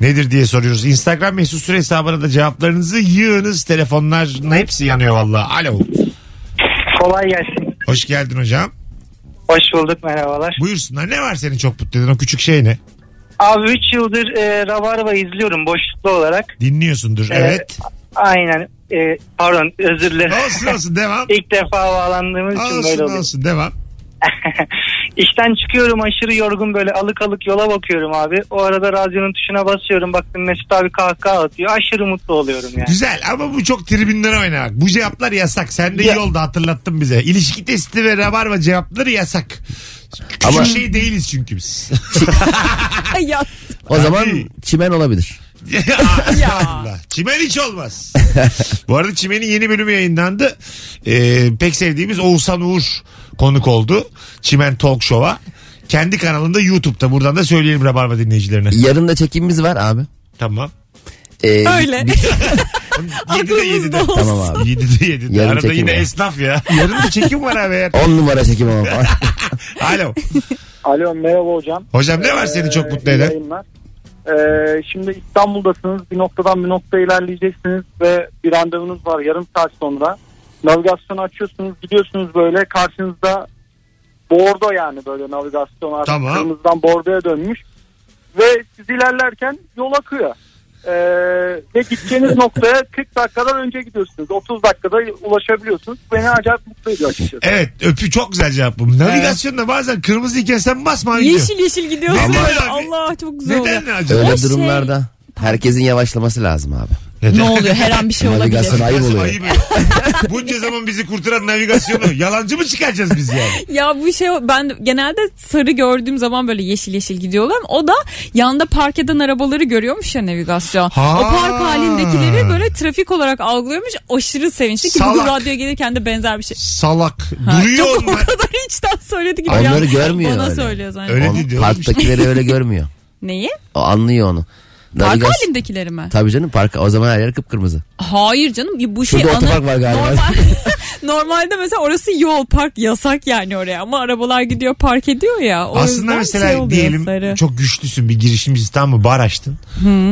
C: nedir diye soruyoruz. Instagram mesut süre hesabına da cevaplarınızı yığınız. Telefonların hepsi yanıyor valla. Alo.
F: Kolay gelsin.
C: Hoş geldin hocam.
F: Hoş bulduk merhabalar.
C: Buyursunlar. Ne var seni çok mutlu eden o küçük şey ne?
F: Abi 3 yıldır e, Rabarba izliyorum boşluklu olarak.
C: Dinliyorsundur.
F: Evet.
C: Evet.
F: Aynen. E, pardon özür dilerim.
C: Olsun olsun devam.
F: İlk defa bağlandığım için
C: olsun
F: böyle oluyor.
C: olsun devam.
F: İşten çıkıyorum aşırı yorgun böyle alık alık yola bakıyorum abi. O arada radyonun tuşuna basıyorum baktım Mesut abi kahkaha atıyor. Aşırı mutlu oluyorum yani.
C: Güzel ama bu çok tribünden oynamak. Bu cevaplar yasak. Sen de iyi
F: Ya.
C: oldu hatırlattın bize. İlişki testi ve rabarba cevapları yasak. Küçük
D: Ama-
C: şey değiliz çünkü biz. Ah.
E: Ay ya.
D: O zaman çimen olabilir.
C: Allah. Çimen hiç olmaz. Bu arada Çimen'in yeni bölümü yayınlandı. Ee, pek sevdiğimiz Oğuzhan Uğur konuk oldu. Çimen Talk Show'a. Kendi kanalında YouTube'da. Buradan da söyleyelim Rabarba dinleyicilerine.
D: Yarın da çekimimiz var abi.
C: Tamam.
D: Ee,
C: E,
E: Öyle.
C: Yedide yedide.
E: Aklımızda olsun.
D: Tamam abi.
C: Yedide yedide.
D: Yarın
C: Arada
D: çekim
C: yine
D: var.
C: esnaf ya. Yarın da çekim var abi. eğer.
D: 10 numara çekim ama falan.
C: Alo.
F: Alo merhaba hocam.
C: Hocam ne var seni çok mutlu
F: iyi
C: eden?
F: yayınlar. Ee, şimdi İstanbul'dasınız. Bir noktadan bir noktaya ilerleyeceksiniz ve bir randevunuz var yarım saat sonra. Navigasyonu açıyorsunuz, gidiyorsunuz böyle karşınızda bordo yani böyle navigasyon artık
C: Tamam.
F: kırmızıdan bordoya dönmüş. Ve siz ilerlerken yol akıyor. Ee, ve gideceğiniz noktaya 40 dakikadan önce gidiyorsunuz. 30 dakikada ulaşabiliyorsunuz. Beni acayip mutlu ediyor açıkçası.
C: Evet öpü çok güzel cevap bu. Navigasyonda bazen kırmızı iken sen basma.
E: Yeşil yeşil gidiyorsun.
C: Neden abi?
E: Allah çok güzel oluyor.
C: Neden ne acaba?
D: Öyle
E: O şey-
D: durumlarda herkesin yavaşlaması lazım abi.
E: Ne oluyor? Her an bir şey olabilir.
D: Navigasyon ayıp
C: Nasıl
D: oluyor.
C: ayıp? Bunca zaman bizi kurtaran navigasyonu yalancı mı çıkaracağız biz yani?
E: Ya bu şey ben genelde sarı gördüğüm zaman böyle yeşil yeşil gidiyorlar. O da yanda park eden arabaları görüyormuş ya navigasyon.
C: Ha.
E: O park halindekileri böyle trafik olarak algılıyormuş. Aşırı sevinçli ki
C: Salak.
E: bu radyoya gelirken de benzer bir şey.
C: Salak.
E: Ha,
C: Duruyor
E: çok o
C: onlar.
E: kadar içten söyledi ki.
D: Onları
E: bir an
D: görmüyor
E: Bana
D: öyle.
E: söylüyor zaten.
C: Öyle
D: Onu-
C: değil diyor.
D: Parktakileri öyle görmüyor.
E: Neyi?
D: O anlıyor onu.
E: Park
D: Navigasyon-
E: halindekileri mi?
D: Tabii canım park o zaman her yer kıpkırmızı.
E: Hayır canım bu şey
D: Şurada
E: ana
D: otopark var galiba.
E: normal Normalde mesela orası yol park yasak yani oraya ama arabalar gidiyor park ediyor ya. O
C: Aslında
E: yüzden
C: mesela
E: şey oluyor
C: diyelim
E: sarı.
C: çok güçlüsün bir girişimcisin tamam mı bar açtın.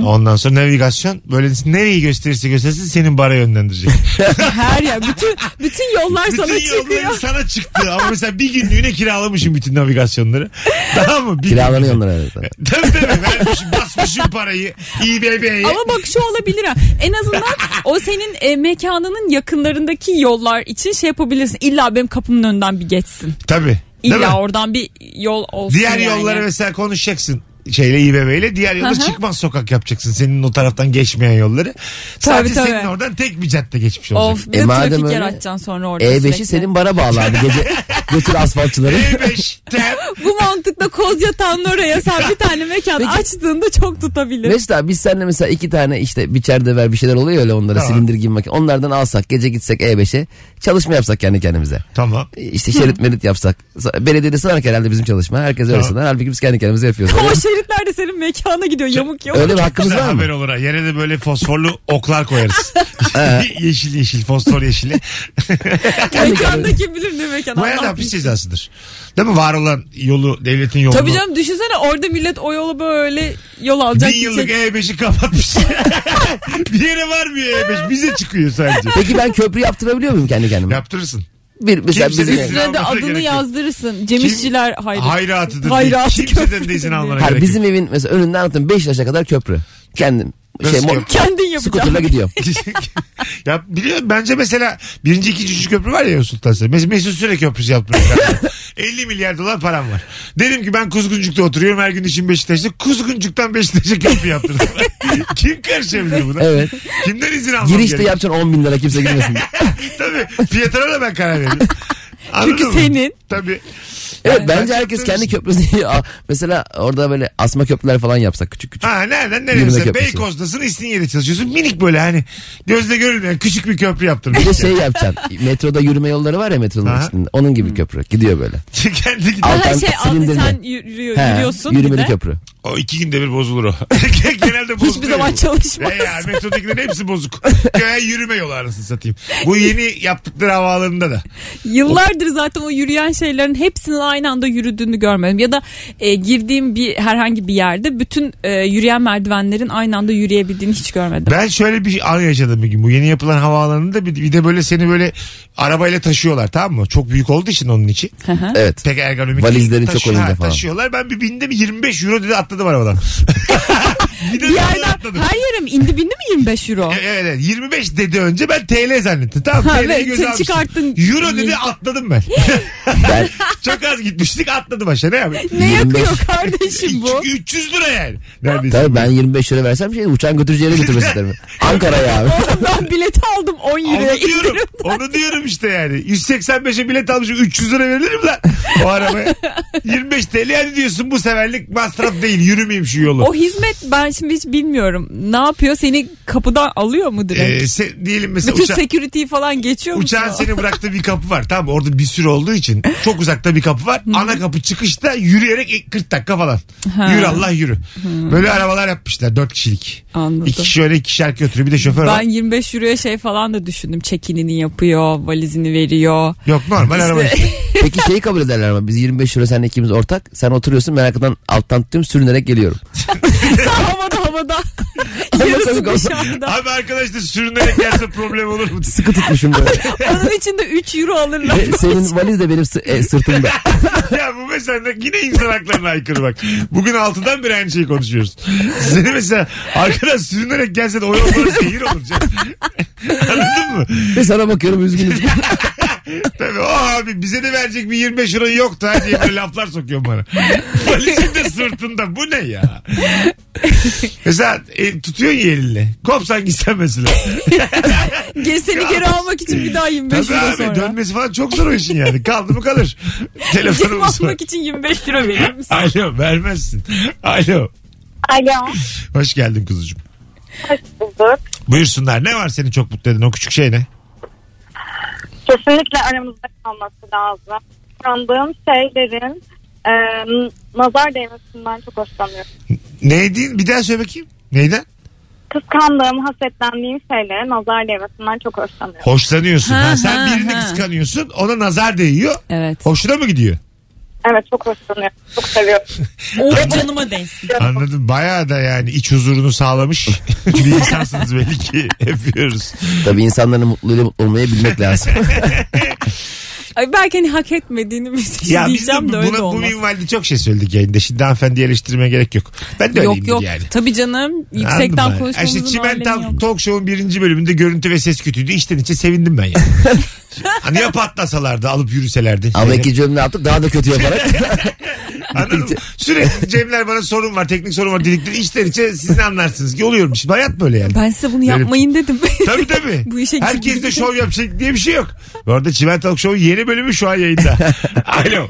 C: Ondan sonra navigasyon böyle nereyi gösterirse göstersin senin bara yönlendirecek.
E: her yer bütün bütün yollar sana
C: bütün yolları
E: çıkıyor.
C: sana çıktı ama mesela bir günlüğüne kiralamışım bütün navigasyonları. Tamam mı? Bir
D: Kiralanıyor onlar arada.
C: günlüğüne. Tabii tabii vermişim basmışım parayı İBB'ye.
E: Ama bak şu olabilir ha. En azından o senin e, mekanının yakınlarındaki yollar için şey yapabilirsin. İlla benim kapımın önünden bir geçsin.
C: Tabii. Değil mi?
E: İlla oradan bir yol olsun
C: Diğer
E: yani.
C: yolları mesela konuşacaksın şeyle İBB ile diğer yolları
E: Aha.
C: çıkmaz sokak yapacaksın. Senin o taraftan geçmeyen yolları. Sadece
E: tabii.
C: senin oradan tek bir cadde geçmiş olacak.
E: Of bir
D: E
E: de
D: madem
E: trafik
D: öyle, E
E: yaratacaksın sonra orada sürekli.
D: E5'i senin bara bağlı abi. Gece götür asfaltçıları.
C: E5 tem.
E: Bu mantıkla koz yatağının oraya sen bir tane mekan açtığında çok tutabilir.
D: Mesut abi biz seninle mesela iki tane işte biçerde ver bir şeyler oluyor öyle onlara
C: Tamam.
D: silindir gibi makine. Onlardan alsak gece gitsek E5'e çalışma yapsak kendi kendimize.
C: Tamam.
D: İşte E, şerit merit yapsak. Belediyede sanark herhalde bizim çalışma. Herkes öyle
C: Tamam.
D: sanar. Halbuki biz kendi kendimize yapıyoruz.
E: Ama şeritler de senin mekana gidiyor yamuk yamuk.
D: öyle bir hakkımız
C: Güzel
D: var mı?
C: haber olur ha. Yere de böyle fosforlu oklar koyarız. yeşil yeşil fosfor yeşili.
E: Mekanda kim bilir ne mekan.
C: Bu da
E: Allah
C: hapis
E: bilir.
C: cezasıdır. Değil mi? Var olan yolu devletin yolunu.
E: Tabii canım düşünsene orada millet o yolu böyle yol alacak.
C: Bin yıllık
D: şey-
E: gidecek.
C: E5'i kapatmış. bir yere varmıyor E5. Bize çıkıyor sadece.
D: Ee. Peki ben köprü yaptırabiliyor muyum kendi kendime?
C: Yaptırırsın.
D: Bir, mesela
C: Kimse
D: bizim-
C: de- izin
E: Üstüne de
C: almasına gerek
E: adını
C: yok.
E: yazdırırsın. Cemişçiler hayır.
C: Hayratıdır.
E: Hayratı
C: Kimseden de
E: köprüsü
C: izin
E: diye.
C: almana
D: Hayır,
C: gerek
D: bizim evin mesela önünden anlatayım 5 yaşa kadar köprü. Kendim.
C: Nasıl
D: şey, mo-
C: köprü?
E: Kendin yapacaksın.
D: skuterla gidiyorum.
C: yok. ya biliyorum bence mesela birinci ikinci üçüncü köprü var ya Sultan Selim. Mes Mesut Süre köprüsü yaptırıyor. 50 milyar dolar param var. Dedim ki ben Kuzguncuk'ta oturuyorum her gün işim Beşiktaş'ta. Kuzguncuk'tan Beşiktaş'a köprü yaptırdım. Kim karışabilir buna?
D: Evet.
C: Kimden izin almam
D: Girişte
C: gerekiyor?
D: yapacaksın 10 bin lira kimse girmesin.
C: Tabii fiyatına da ben karar veririm.
E: Çünkü
C: Anladın mı?
E: senin.
C: Tabii.
D: evet bence
C: Ben
D: herkes
C: yaptırmışım.
D: kendi köprüsünü Aa, mesela orada böyle asma köprüler falan yapsak küçük küçük.
C: Ha nereden nereye
D: Yürümek
C: mesela
D: yapısı.
C: Beykoz'dasın İstinye'de çalışıyorsun. Minik böyle hani gözle görülmeyen küçük bir köprü yaptırmış.
D: Bir de şey yapacaksın. Metroda yürüme yolları var ya metronun
C: Aha.
D: üstünde. Onun gibi köprü. Gidiyor böyle.
C: Kendi gidiyor.
E: Aha
D: Altan
E: şey aldı
D: silindirle.
E: sen yürüyor,
D: He,
E: yürüyorsun bir
D: Yürümeli
E: de.
D: köprü.
C: O iki günde bir bozulur o. Genelde bozuluyor.
E: Hiçbir zaman çalışmaz.
C: E ya metrodakilerin hepsi bozuk. Köye yürüme yolu arasını satayım. Bu yeni yaptıkları havaalanında da.
E: Yıllardır zaten o yürüyen şeylerin hepsinin aynı anda yürüdüğünü görmedim. Ya da e, girdiğim bir herhangi bir yerde bütün e, yürüyen merdivenlerin aynı anda yürüyebildiğini hiç görmedim.
C: Ben şöyle bir an yaşadım bir gün. Bu yeni yapılan havaalanında bir, bir de böyle seni böyle arabayla taşıyorlar tamam mı? Çok büyük olduğu için onun için.
D: Evet.
C: Pek ergonomik.
D: Valizlerin
C: değil.
D: çok
C: Taşıyor-
D: önünde
C: ha,
D: falan.
C: Taşıyorlar. Ben bir bindim 25 euro dedi atladım arabadan. bir de
E: Bir yerden
C: atladım.
E: her yere mi indi bindi mi 25 euro?
C: E- Evet, evet. 25 dedi önce ben TL zannettim. Tamam
E: Ha,
C: TL'yi
E: evet,
C: göze
E: sen
C: almıştım.
E: çıkarttın.
C: Euro dedi atladım ben.
D: Ben
C: Çok az gitmiştik atladım aşağı ne yapayım?
E: Ne
D: 25
E: yakıyor kardeşim bu?
C: İki- 300 lira yani. Neredeyse.
D: Tabii ben 25 lira versem şey uçağın götüreceği yere götürmesi isterim. Ankara'ya abi.
E: ben bileti aldım 10 euroya
C: Onu diyorum.
E: indirim.
C: onu diyorum işte yani. 185'e bilet almışım 300 lira verilir mi lan o arabaya? 25 TL yani diyorsun bu seferlik masraf değil yürümeyeyim şu yolu.
E: O hizmet ben şimdi hiç bilmiyorum. Ne yapıyor? Seni kapıdan alıyor mu direkt?
C: Ee, se- diyelim mesela
E: Bütün
C: uça-
E: security'yi falan geçiyor musun?
C: uçağın seni bıraktığı bir kapı var. Tamam orada bir sürü olduğu için çok uzakta bir kapı var. Ana kapı çıkışta yürüyerek 40 dakika falan.
E: Ha.
C: Yürü Allah yürü. Böyle arabalar yapmışlar 4 kişilik.
E: Anladım.
C: İki kişi öyle iki kişi götürüyor bir de şoför var.
E: Ben 25 euroya şey falan da düşündüm. Çekinini yapıyor, valizini veriyor.
C: Yok normal araba. işte.
D: Peki şeyi kabul ederler ama biz 25 lira senle ikimiz ortak. Sen oturuyorsun ben arkadan alttan tutuyorum sürünerek geliyorum.
E: Sağ havada havada. Yarısı dışarıda.
C: Abi arkadaş da sürünerek gelse problem olur mu?
D: Sıkı tutmuşum böyle.
E: Onun için de 3 euro alırlar.
D: Ve Senin valiz de benim sı- e, sırtımda.
C: ya bu mesela yine insan haklarına aykırı bak. Bugün altıdan beri aynı şeyi konuşuyoruz. Seni mesela arkadaş sürünerek gelse de o yolda şehir olur canım. Anladın mı?
D: Ve sana bakıyorum üzgünüm.
C: Tabii o abi bize de verecek bir 25 euro yok da diye böyle laflar sokuyor bana. Valizin de sırtında bu ne ya? mesela e, tutuyorsun ya elinle. Kopsan gitsen mesela.
E: Gel seni geri almak için bir daha 25
C: Tabii
E: euro
C: abi
E: sonra.
C: dönmesi falan çok zor o işin yani. Kaldı mı kalır.
E: Cem
C: Telefonumuz var.
E: almak için 25 euro verir misin?
C: Alo vermezsin. Alo.
K: Alo.
C: Hoş geldin kuzucuğum.
K: Hoş bulduk.
C: Buyursunlar. Ne var seni çok mutlu eden o küçük şey ne?
K: Kesinlikle aramızda kalması lazım. Kandığım şeylerin e, nazar değmesinden çok hoşlanmıyorum.
C: Neydi? Bir daha söyle bakayım. Neyden?
K: kıskandığım, hasetlendiğim şeylere nazar değmesinden çok hoşlanıyorum.
C: Hoşlanıyorsun.
K: Ha,
C: Ha, sen
K: ha,
C: birini
K: ha.
C: kıskanıyorsun ona nazar değiyor.
E: Evet.
C: Hoşuna mı gidiyor?
K: Evet çok hoşlanıyorum. Çok seviyorum.
E: Oh canıma değsin.
C: Anladım. Bayağı da yani iç huzurunu sağlamış bir insansınız belli ki. Öpüyoruz.
D: Tabii insanların mutluluğuyla mutlu olmayı bilmek lazım.
E: Ay belki hani hak etmediğini bir şey
C: ya biz de
E: diyeceğim de
C: buna,
E: öyle
C: bu
E: olmaz.
C: minvalde çok şey söyledik yayında. Şimdi hanımefendiyi eleştirmeye gerek yok. Ben de
E: Yok
C: öyleyimdir
E: yok.
C: yani.
E: Tabii canım.
C: Anladın
E: Yüksekten
C: mı?
E: konuşmamızın
C: İşte Çimen
E: alemi yok.
C: Tam Talk Show'un birinci bölümünde görüntü ve ses kötüydü. İçten içe sevindim ben yani. hani ya patlasalardı alıp yürüselerdi.
D: Ama iki cümle yaptık daha da kötü yaparak.
C: Anladın mı? Sürekli Cemler bana sorun var, teknik sorun var dedikleri içten içe siz ne anlarsınız ki oluyormuş. Şimdi Hayat böyle yani.
E: Ben size bunu
C: Böyle-
E: yapmayın dedim.
C: Tabii tabii.
E: Bu işe
C: Herkes de
E: girdim.
C: şov yapacak diye bir şey yok. Bu arada Çimen Talk Show'un yeni bölümü şu an yayında. Alo.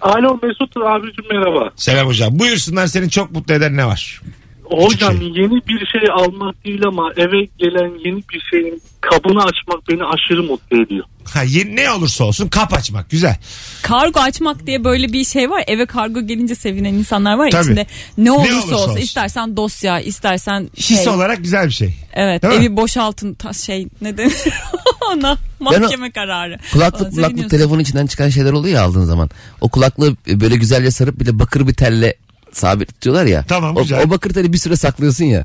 G: Alo Mesut abicim merhaba.
C: Selam hocam. Buyursunlar seni çok mutlu eden ne var?
G: Hocam
C: Küçük
G: yeni bir şey almak değil ama eve gelen yeni bir şeyin kabını açmak beni aşırı mutlu ediyor.
C: Ha, yeni, ne olursa olsun kap açmak. Güzel.
E: Kargo açmak diye böyle bir şey var. Eve kargo gelince sevinen insanlar var.
C: Tabii.
E: ya içinde ne olursa,
C: olursa
E: olsun.
C: olsun.
E: istersen dosya, istersen şey.
C: His olarak güzel bir şey.
E: Evet,
C: Değil mi?
E: evi boşaltın ta- şey ne denir ona mahkeme kararı. Ona
D: kulaklık kulaklık
E: seviniyorsun.
D: telefonun içinden çıkan şeyler oluyor ya aldığın zaman. O kulaklığı e, böyle güzelce sarıp bir de bakır bir telle sabit tutuyorlar ya.
C: Tamam,
D: o,
C: güzel.
D: o bakır teli bir süre saklıyorsun ya.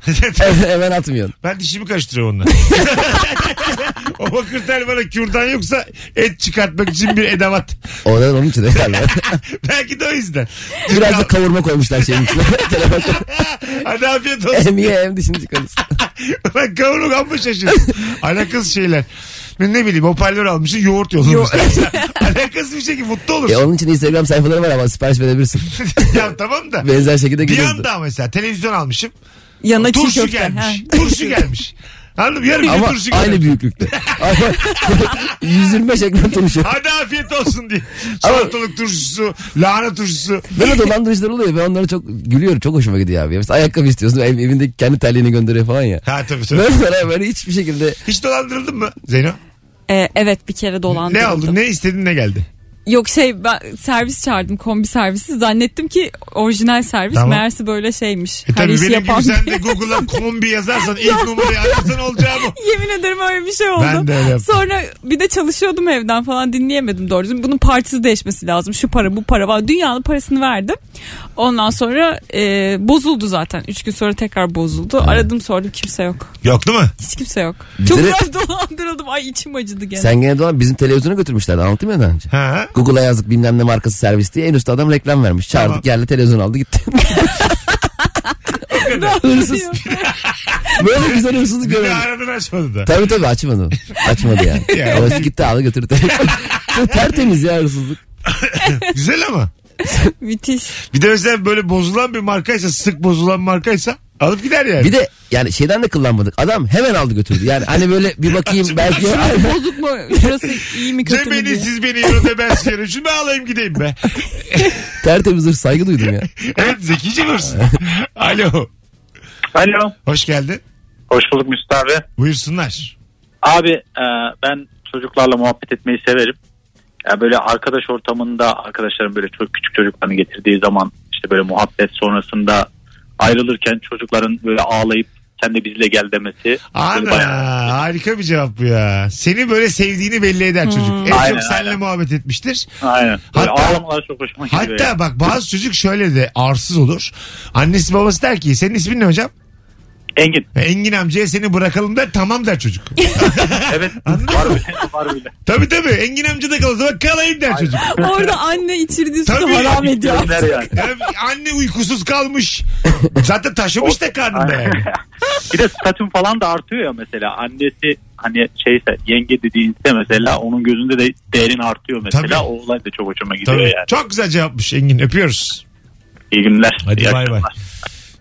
D: Hemen atmıyorsun.
C: Ben dişimi karıştırıyorum onunla. o bakır tel bana kürdan yoksa et çıkartmak için bir edevat.
D: Oradan onun için de galiba.
C: Belki de o yüzden.
D: Biraz da kavurma koymuşlar şeyin içine. Telefon.
C: Hadi afiyet olsun.
D: hem ye hem dişini çıkarırsın.
C: Lan kavuruk amma şaşırsın. Alakasız şeyler. Ben ne bileyim hoparlör almışsın yoğurt yollamışsın. Alakasız bir şey ki mutlu
D: E,
C: olursun.
D: onun için Instagram sayfaları var ama sipariş verebilirsin.
C: ya tamam da.
D: Benzer şekilde
C: Bir
D: gidiyordu.
C: anda mesela televizyon almışım.
E: Yana çiğ
C: Turşu
E: köfte.
C: gelmiş.
E: ha.
C: Turşu gelmiş. Anladın mı? Yarın bir
D: Ama
C: turşu
D: aynı
C: gelmiş.
D: büyüklükte. Ama 125 ekran turşu.
C: Hadi afiyet olsun diye. Salatalık turşusu, lahana turşusu.
D: Böyle dolandırıcılar oluyor. Ben onlara çok gülüyorum. Çok hoşuma gidiyor abi. Mesela ayakkabı istiyorsun. Ev, evinde kendi terliğini gönderiyor falan ya.
C: Ha tabii tabii.
D: Böyle, böyle hiçbir şekilde
C: Hiç dolandırıldın mı Zeyno?
E: Ee, evet bir kere dolandırdım.
C: Ne oldu? Ne istedin ne geldi?
E: Yok şey ben servis çağırdım kombi servisi zannettim ki orijinal servis
C: Tamam.
E: meğerse böyle şeymiş.
C: E
E: Her
C: tabii
E: işi
C: benim gibi
E: yapan
C: sen
E: bir-
C: de Google'a kombi yazarsan ilk numarayı ararsan olacağı bu.
E: Yemin ederim öyle bir şey oldu.
C: Ben de öyle yaptım.
E: Sonra bir de çalışıyordum evden falan dinleyemedim doğru düzgün. Bunun partisi değişmesi lazım. Şu para bu para falan. Dünyanın parasını verdim. Ondan sonra e, bozuldu zaten. Üç gün sonra tekrar bozuldu. Aradım sordum kimse yok.
C: Yok değil mi?
E: Hiç kimse yok.
D: Bir
E: Çok
D: de-
E: rahat dolandırıldım. Ay içim acıdı gene.
D: sen gene dolan bizim televizyona götürmüşlerdi. Anlatayım ya daha önce.
C: Ha.
D: Google'a yazdık bilmem ne markası servis diye. En üstte adam reklam vermiş. Çağırdık
C: Tamam.
D: geldi televizyon aldı gitti. Hırsız. böyle güzel hırsızlık
C: Bir de
D: görmedim.
C: aradın açmadı da.
D: Tabii tabii açmadı. Açmadı yani.
C: Ya.
D: Orası gitti aldı götürdü telefonu. Çok tertemiz ya hırsızlık.
C: Güzel ama.
E: Müthiş.
C: Bir de mesela böyle bozulan bir markaysa sık bozulan markaysa alıp gider yani.
D: Bir de yani şeyden de kullanmadık. Adam hemen aldı götürdü. Yani hani böyle bir bakayım belki.
E: Bozuk mu? Şurası iyi mi kötü
C: Cem
E: mü
C: beni
E: diye.
C: siz beni yiyorum da ben sizi Şunu ben alayım gideyim be.
D: Tertemiz hırsız, saygı duydum ya.
C: evet zekice görürsün. Alo.
I: Alo.
C: Hoş geldin.
I: Hoş bulduk Mesut abi.
C: Buyursunlar.
I: Abi e, ben çocuklarla muhabbet etmeyi severim. Ya böyle arkadaş ortamında arkadaşlarım böyle çok küçük çocuklarını getirdiği zaman işte böyle muhabbet sonrasında ayrılırken çocukların böyle ağlayıp sen de bizle gel demesi. Böyle
C: Ana
I: bayağı-
C: harika bir cevap bu ya. Seni böyle sevdiğini belli eder çocuk. En
I: Hmm. Aynen,
C: çok seninle
I: aynen.
C: muhabbet etmiştir.
I: Aynen. Böyle
C: Hatta-
I: ağlamalar çok hoşuma gidiyor.
C: Hatta
I: ya.
C: bak bazı çocuk şöyle de arsız olur. Annesi babası der ki senin ismin ne hocam?
I: Engin.
C: Engin amcaya seni bırakalım der tamam der çocuk.
I: Evet. var bile. Var bile.
C: tabii tabii Engin amca da kalırsa bak kalayım der çocuk.
E: Orada anne içirdiği sütü
C: Tabii.
E: haram ediyor.
I: Der yani.
C: Yani anne uykusuz kalmış. Zaten taşımış da karnında yani.
I: bir de statüm falan da artıyor ya mesela. Annesi hani şeyse yenge dediğinse mesela onun gözünde de değerin artıyor mesela.
C: Tabii.
I: O olay da çok hoşuma gidiyor
C: Tabii.
I: yani.
C: Çok güzel cevapmış Engin. Öpüyoruz.
I: İyi günler.
C: Hadi bay
I: iyi
C: bay.
I: akşamlar.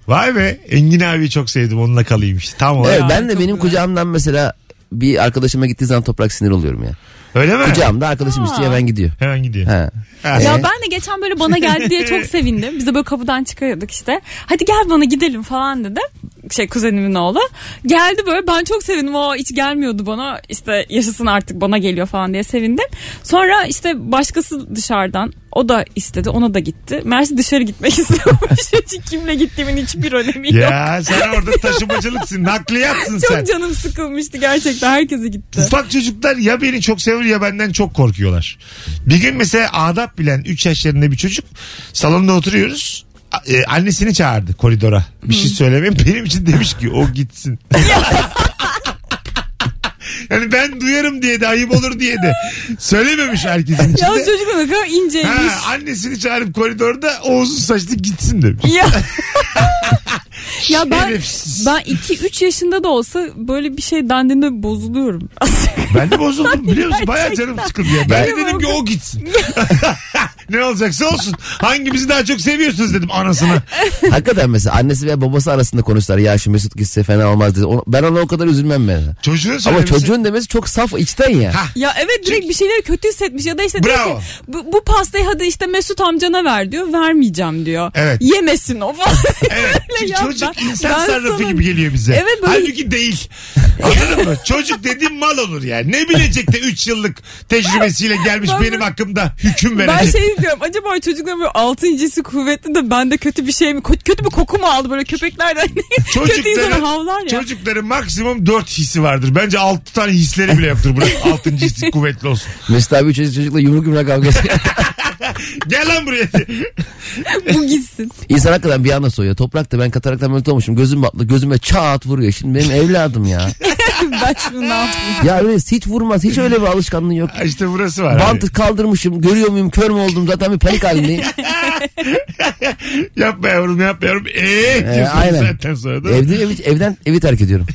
C: Vay be Engin abiyi çok sevdim onunla kalayım işte. Tam olarak.
D: Evet, ben de
E: çok
D: benim
E: güzel.
D: kucağımdan mesela bir arkadaşıma gittiği zaman toprak sinir oluyorum ya.
C: Öyle mi?
D: Kucağımda arkadaşım üstü hemen gidiyor.
C: Hemen gidiyor.
D: Ha.
C: Ha.
E: Ya ben
D: Ee?
E: de geçen böyle bana geldi diye çok sevindim. Biz de böyle kapıdan çıkıyorduk işte. Hadi gel bana gidelim falan dedi. şey kuzenimin oğlu. Geldi böyle ben çok sevindim. O hiç gelmiyordu bana. İşte yaşasın artık bana geliyor falan diye sevindim. Sonra işte başkası dışarıdan o da istedi ona da gitti. Mersi dışarı gitmek istiyormuş. Hiç kimle gittiğimin hiçbir önemi yok.
C: Ya sen orada taşımacılıksın. Nakliyatsın
E: Çok
C: sen.
E: canım sıkılmıştı gerçekten. Herkese gitti.
C: Ufak çocuklar ya beni çok seviyor ya benden çok korkuyorlar. Bir gün mesela adap bilen 3 yaşlarında bir çocuk salonda oturuyoruz. A- e, annesini çağırdı koridora. Bir şey söylemeyin. Benim için demiş ki o gitsin. yani ben duyarım diye de ayıp olur diye de. Söylememiş herkesin
E: Ya
C: içinde.
E: çocuk ne kadar inceymiş.
C: Ha, annesini çağırıp koridorda Oğuz'un saçlı gitsin demiş.
E: Ya. ya ben
C: Şerefsiz.
E: ben 2 3 yaşında da olsa böyle bir şey dendiğinde bozuluyorum.
C: Ben de bozuldum biliyor musun? Baya canım sıkıldı ya. Ben de
E: Benim
C: dedim ki
E: oldu.
C: o gitsin. ne olacaksa olsun. Hangimizi daha çok seviyorsunuz dedim anasına.
D: Hakikaten mesela annesi ve babası arasında konuştular. Ya şu Mesut gitse fena olmaz dedi. Onu- ben ona o kadar üzülmem ben.
C: Çocuğun
D: Ama
C: söylemesi.
D: çocuğun demesi çok saf içten ya.
C: şey- Ha.
E: ya evet direkt bir şeyleri kötü hissetmiş ya da işte diyor
C: Bravo.
E: ki bu, bu pastayı hadi işte Mesut amcana ver diyor. Vermeyeceğim diyor.
C: Evet.
E: Yemesin o falan.
C: Evet. Çünkü
E: Ya
C: çocuk
E: ben-
C: insan
E: ben
C: sarrafı
E: sana-
C: gibi geliyor bize.
E: Evet, böyle-
C: Halbuki değil. Anladın mı? Çocuk dediğim mal olur yani. Ne bilecek de 3 yıllık tecrübesiyle gelmiş
E: Ben-
C: benim hakkımda hüküm
E: ben
C: verecek.
E: şey diyorum acaba o çocukların böyle altın incisi kuvvetli de bende kötü bir şey mi? Ko- Kötü bir koku mu aldı böyle köpeklerden? kötü insanı havlar ya.
C: çocukların maksimum 4 hissi vardır. Bence 6 tane hisleri bile yoktur. Burası 6. hissi kuvvetli olsun.
D: Mesut abi üç yaşındaki çocukla yumruk yumruk kavgası.
C: Gel lan buraya.
E: bu gitsin.
D: İnsan hakikaten bir anda soğuyor. Toprakta ben kataraktan böyle olmuşum. Gözüm batlı. Gözüme çat vuruyor. Şimdi benim evladım ya.
E: ben şunu ne yapayım?
D: ya öyle hiç vurmaz. Hiç öyle bir alışkanlığı yok.
C: Ha İşte burası var. abi.
D: Bantı kaldırmışım. Görüyor muyum? Kör mü oldum? Zaten bir panik halindeyim.
C: Yapma yavrum yapma yavrum. Eee
D: Ee, aynen.
C: zaten sonra da.
D: Evde, evi- evden evi terk ediyorum.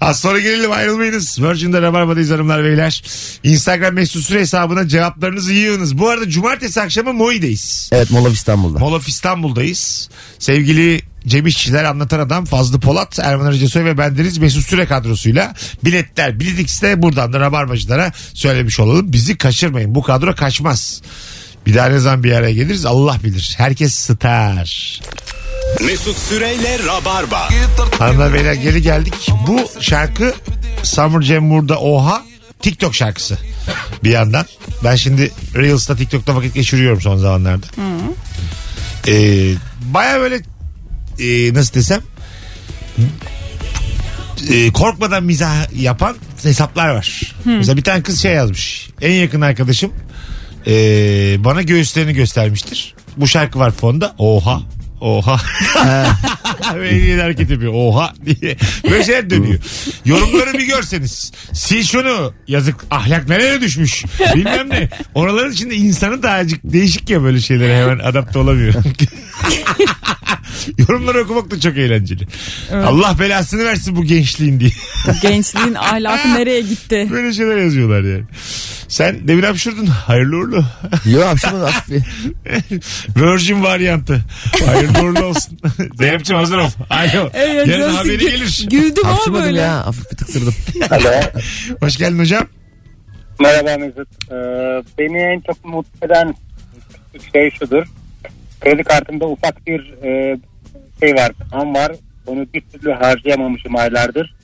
C: Az sonra gelelim ayrılmayınız. Virgin'de Rabarba'dayız hanımlar beyler. Instagram mesut süre hesabına cevaplarınızı yığınız. Bu arada cumartesi akşamı Moi'deyiz.
D: Evet Molav İstanbul'da.
C: Mall of İstanbul'dayız. Sevgili Cem İşçiler anlatan adam Fazlı Polat, Erman Arıcasoy ve bendeniz Mesut Süre kadrosuyla biletler Bilet X'te buradan da Rabarbacılara söylemiş olalım. Bizi kaçırmayın. Bu kadro kaçmaz. Bir daha ne zaman bir araya geliriz Allah bilir. Herkes star.
B: Mesut Süreyle Rabarba.
C: Hanımlar beyler geri geldik. Bu şarkı Summer Jam burada Oha TikTok şarkısı bir yandan. Ben şimdi Reels'ta TikTok'ta vakit geçiriyorum son zamanlarda. Ee, Baya böyle e, nasıl desem e, korkmadan mizah yapan hesaplar var. Mesela bir tane kız şey yazmış. En yakın arkadaşım e, bana göğüslerini göstermiştir. Bu şarkı var fonda. Oha. Oha. Ve eliyle hareket yapıyor. Oha diye. Böyle şeyler dönüyor. Yorumları bir görseniz. Sil şunu. Yazık ahlak nereye düşmüş. Bilmem ne. Oraların içinde insanı da azıcık değişik ya böyle şeylere hemen adapte olamıyor. Yorumları okumak da çok eğlenceli. Allah belasını versin bu gençliğin diye.
E: Gençliğin ahlakı nereye gitti?
C: Böyle şeyler yazıyorlar yani. Sen demin hapşurdun. Hayırlı uğurlu.
D: Yok hapşırmadı hafif bir.
C: Virgin varyantı. Hayırlı uğurlu olsun. Zeynep'ciğim hazır ol. Alo.
E: Evet,
C: Yarın
E: nasıl
C: haberi
E: gü-
C: gelir.
E: şey, Güldüm ama
D: Hapşırmadım
E: böyle.
D: ya. Hafif bir tıksırdım.
C: Hoş geldin hocam.
F: Merhaba Mesut. Ee, beni en çok mutlu eden şey şudur. Kredi kartımda ufak bir e, şey var, an var. Onu bir türlü harcayamamışım aylardır.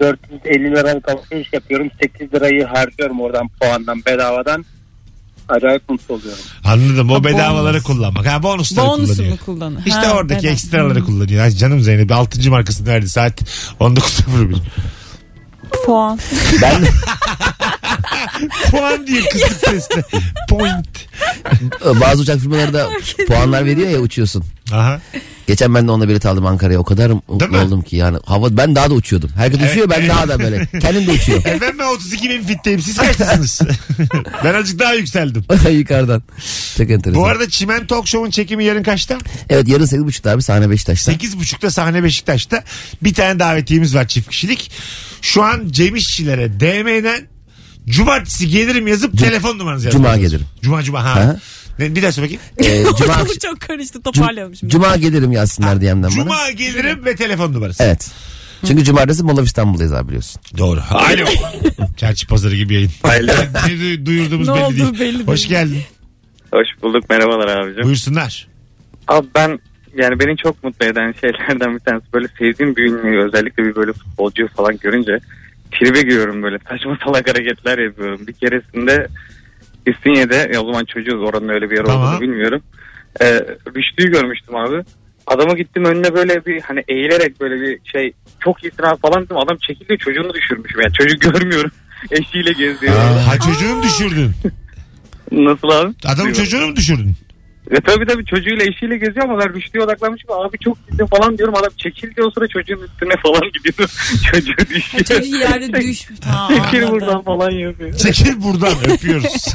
F: 450 liralık alışveriş yapıyorum. 8 lirayı harcıyorum oradan puandan, bedavadan. Acayip mutlu oluyorum.
C: Anladım. O
E: Ha,
C: bedavaları
E: bonus.
C: kullanmak. Ha bonusları
E: Bonusu mu
C: kullanıyor.
E: kullanır?
C: İşte
E: Ha,
C: oradaki
E: evet.
C: ekstraları kullanıyor. Ay canım Zeynep 6. markası nerede? Saat 19.01.
E: Puan.
D: Ben
C: Puan diye kısık sesle. Point.
D: e, bazı uçak firmalarında puanlar veriyor ya uçuyorsun.
C: Aha.
D: Geçen ben de onunla bilet aldım Ankara'ya. O kadar mutlu
C: mi?
D: oldum ki yani. Hava, ben daha da uçuyordum. Herkes uçuyor ben daha da böyle. Kendim de uçuyor.
C: E ben ben 32 bin fitteyim. Siz kaçtasınız? ben azıcık daha yükseldim.
D: Yukarıdan. Çok enteresan.
C: Bu arada Çimen Talk Show'un çekimi yarın kaçta?
D: Evet yarın 8.30'da abi sahne Beşiktaş'ta.
C: 8.30'da sahne Beşiktaş'ta. Bir tane davetiyemiz var çift kişilik. Şu an Cem İşçilere DM'den Cumartesi gelirim yazıp telefon numaranızı yazın.
D: Cuma gelirim.
C: Cuma cuma ha.
D: Ha.
C: Ne, bir daha söyle bakayım.
D: Ee, cuma,
E: Ortalık çok karıştı toparlayalım şimdi.
D: cuma gelirim yazsınlar DM'den bana.
C: Cuma gelirim ve telefon numarası.
D: Evet. Çünkü cumartesi Molav İstanbul'dayız abi biliyorsun.
C: Doğru. Alo. Çarşı pazarı gibi yayın. Alo. ne du- duyurduğumuz
E: Ne
C: belli
E: olduğu
C: değil.
E: belli
C: Hoş
E: değil.
C: geldin.
I: Hoş bulduk merhabalar abicim.
C: Buyursunlar.
I: Abi ben yani beni çok mutlu eden şeylerden bir tanesi böyle sevdiğim bir ünlüyü özellikle bir böyle futbolcu falan görünce tribe giriyorum böyle saçma salak hareketler yapıyorum. Bir keresinde İstinye'de ya o zaman çocuğuz oranın öyle bir yer
C: Tamam.
I: olduğunu bilmiyorum. Ee, Rüştü'yü görmüştüm abi. Adama gittim önüne böyle bir hani eğilerek böyle bir şey çok iyisin abi falan dedim. Adam çekildi çocuğunu düşürmüş. Yani çocuk görmüyorum. Eşiyle geziyor.
C: Ha çocuğunu mu düşürdün?
I: Nasıl abi?
C: Adamın
I: Bilmiyorum.
C: çocuğunu mu düşürdün?
I: E tabii tabii çocuğuyla eşiyle geziyor ama ben Rüştü'ye odaklanmışım. Abi çok gittim falan diyorum. Adam çekil diyor o sıra çocuğun üstüne falan gidiyor. Çocuğu düşüyor.
E: Çocuğu yerde düş. Ha,
I: Çekil
E: anladım.
I: buradan falan yapıyor.
C: Çekil buradan öpüyoruz.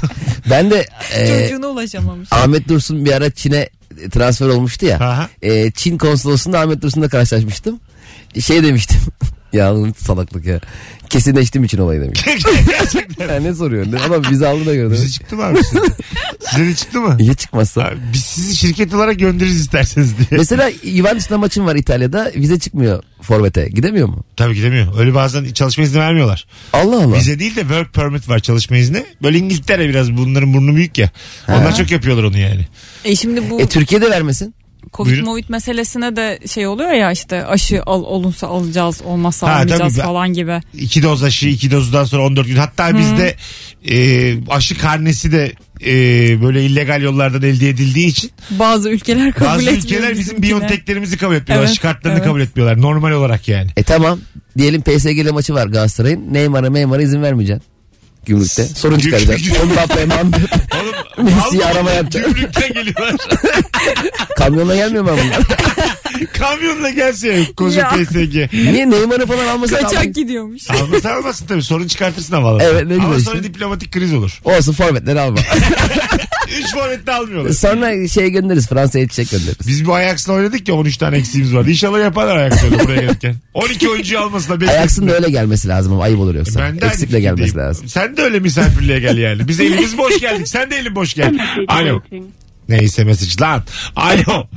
D: Ben de e,
E: Çocuğuna ulaşamamış.
D: Ahmet Dursun bir ara Çin'e transfer olmuştu ya.
C: Aha.
D: E, Çin konsolosunda Ahmet Dursun'la karşılaşmıştım. Şey demiştim. ya oğlum salaklık ya. Kesinleştim için olayı demiş.
C: Gerçekten.
D: Ya ne soruyorsun? Ama bizi aldı da gördü.
C: Bize çıktı mı abi? size? Size de çıktı mı?
D: Ya çıkmazsa?
C: Abi, biz sizi şirket olarak göndeririz isterseniz diye.
D: Mesela Juventus'la maçın var İtalya'da. Vize çıkmıyor Forvet'e. Gidemiyor mu?
C: Tabii gidemiyor. Öyle bazen çalışma izni vermiyorlar.
D: Allah Allah.
C: Vize değil de work permit var çalışma izni. Böyle İngiltere biraz bunların burnu büyük ya. Onlar çok yapıyorlar onu yani.
E: E şimdi bu
D: E Türkiye'de vermesin.
E: Covid
C: Buyurun.
E: Movid meselesine de şey oluyor ya işte aşı al, olunsa alacağız olmazsa
C: Ha,
E: almayacağız
C: tabii.
E: falan gibi.
C: İki doz aşı, iki dozdan sonra 14 gün. Hatta bizde e, aşı karnesi de e, böyle illegal yollardan elde edildiği için
E: Bazı ülkeler kabul
C: bazı
E: etmiyor.
C: ülkeler bizim
E: bizimkine.
C: biyonteklerimizi kabul etmiyorlar.
E: Evet,
C: aşı kartlarını
E: evet.
C: kabul etmiyorlar. Normal olarak yani.
D: E tamam. Diyelim PSG ile maçı var Galatasaray'ın. Neymar'a Neymar'a izin vermeyeceksin. Gümrükte. Sorun çıkaracaksın. Onu da yapayım.
C: Oğlum
D: Messi'yi
C: Almanya'da
D: arama yapacak.
C: Gümrükten geliyorlar.
D: Kamyonla gelmiyor mu bunlar?
C: Kamyonla gelse koca
E: Ya.
C: PSG.
D: Niye Neymar'ı falan almasa
E: Kaçak gidiyormuş.
C: Almasın almasın tabii sorun çıkartırsın havalara.
D: Evet, ne
C: Ama
D: güzel
C: sonra
D: işte.
C: diplomatik kriz olur.
D: Olsun forvetleri alma.
C: Üç forvet de almıyorlar.
D: Sonra şey göndeririz. Fransa'ya çiçek göndeririz.
C: Biz bu Ajax'la oynadık ya 13 tane eksiğimiz vardı. İnşallah yaparlar Ajax'la buraya gelirken. 12 oyuncuyu almasına bekledim.
D: Ayaksın da öyle gelmesi lazım ama ayıp olur yoksa.
C: Ben de aynı
D: Eksikle gelmesi
C: fikirdeyim.
D: lazım.
C: Sen de öyle misafirliğe gel yani. Biz elimiz boş geldik. Sen de elin boş gel. Alo. Neyse mesaj lan. Alo.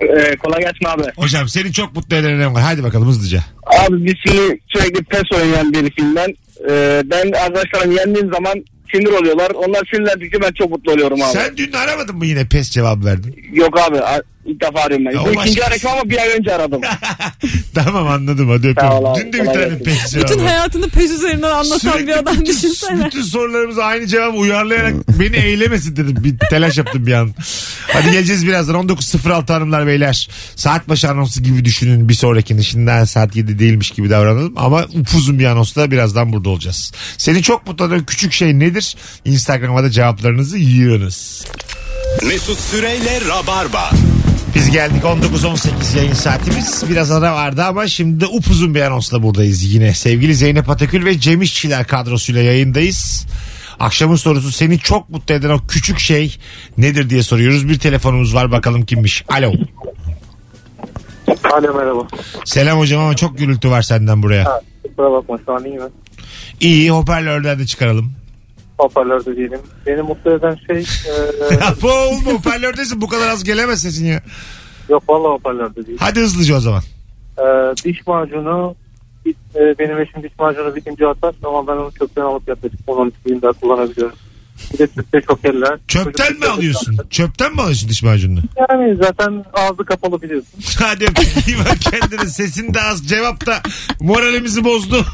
H: Ee, kolay gelsin abi.
C: Hocam seni çok mutlu eden önem var. Hadi bakalım hızlıca.
H: Abi biz şimdi sürekli pes oynayan birisiyiz ben. Ee, ben arkadaşlarım yendiğim zaman sinir oluyorlar. Onlar sinirlendikçe ben çok mutlu oluyorum abi.
C: Sen dün aramadın mı yine pes cevap verdin?
H: Yok abi a- ilk defa arıyorum ben.
C: Ya,
H: Bu
C: o
H: ikinci
C: başka-
H: arayışım ama bir ay önce aradım.
C: tamam anladım hadi
H: Sağ ol
C: öpüyorum. Dün
H: abi,
C: de bir
H: kolay
C: tane
H: gelsin.
C: pes cevap
E: Bütün
C: verdim.
E: hayatını pez üzerinden anlatan
C: Sürekli
E: bir adam
C: bütün,
E: düşünsene.
C: Bütün sorularımıza aynı cevabı uyarlayarak beni eylemesin dedim. Bir telaş yaptım bir an. Hadi geleceğiz birazdan. 19.06 hanımlar beyler. Saat başı anonsu gibi düşünün bir sonrakini. Şimdiden saat 7 değilmiş gibi davranalım. Ama upuzun bir anonsla birazdan burada olacağız. Seni çok mutlu eden küçük şey nedir? Instagram'a da cevaplarınızı yığınız.
B: Mesut Süreyle Rabarba.
C: Biz geldik 19.18 yayın saatimiz. Biraz ara vardı ama şimdi upuzun bir anonsla buradayız yine. Sevgili Zeynep Atakül ve Cem İşçiler kadrosuyla yayındayız. Akşamın sorusu seni çok mutlu eden o küçük şey nedir diye soruyoruz. Bir telefonumuz var bakalım kimmiş. Alo.
G: Alo merhaba.
C: Selam hocam ama çok gürültü var senden buraya.
G: Kusura bakma şu an iyi mi?
C: İyi hoparlörden de çıkaralım.
G: Hoparlörde değilim. Beni mutlu eden şey... e,
C: Bu oğlum hoparlördesin bu kadar az gelemez sesin ya.
G: yok valla hoparlörde değil.
C: Hadi hızlıca o zaman.
G: E, diş macunu... bit- e, benim eşim diş macunu bitince atar ama ben onu çöpten alıp yaklaşık 10-12 gün daha kullanabiliyorum. Bir de sütte şokerler.
C: Çöpten mi
G: Çocuk-
C: alıyorsun? Çöpten mi alıyorsun diş macununu?
G: Yani zaten ağzı kapalı biliyorsun.
C: Hadi öptük. iyi bak kendine. Sesin de az. Cevap da moralimizi bozdu.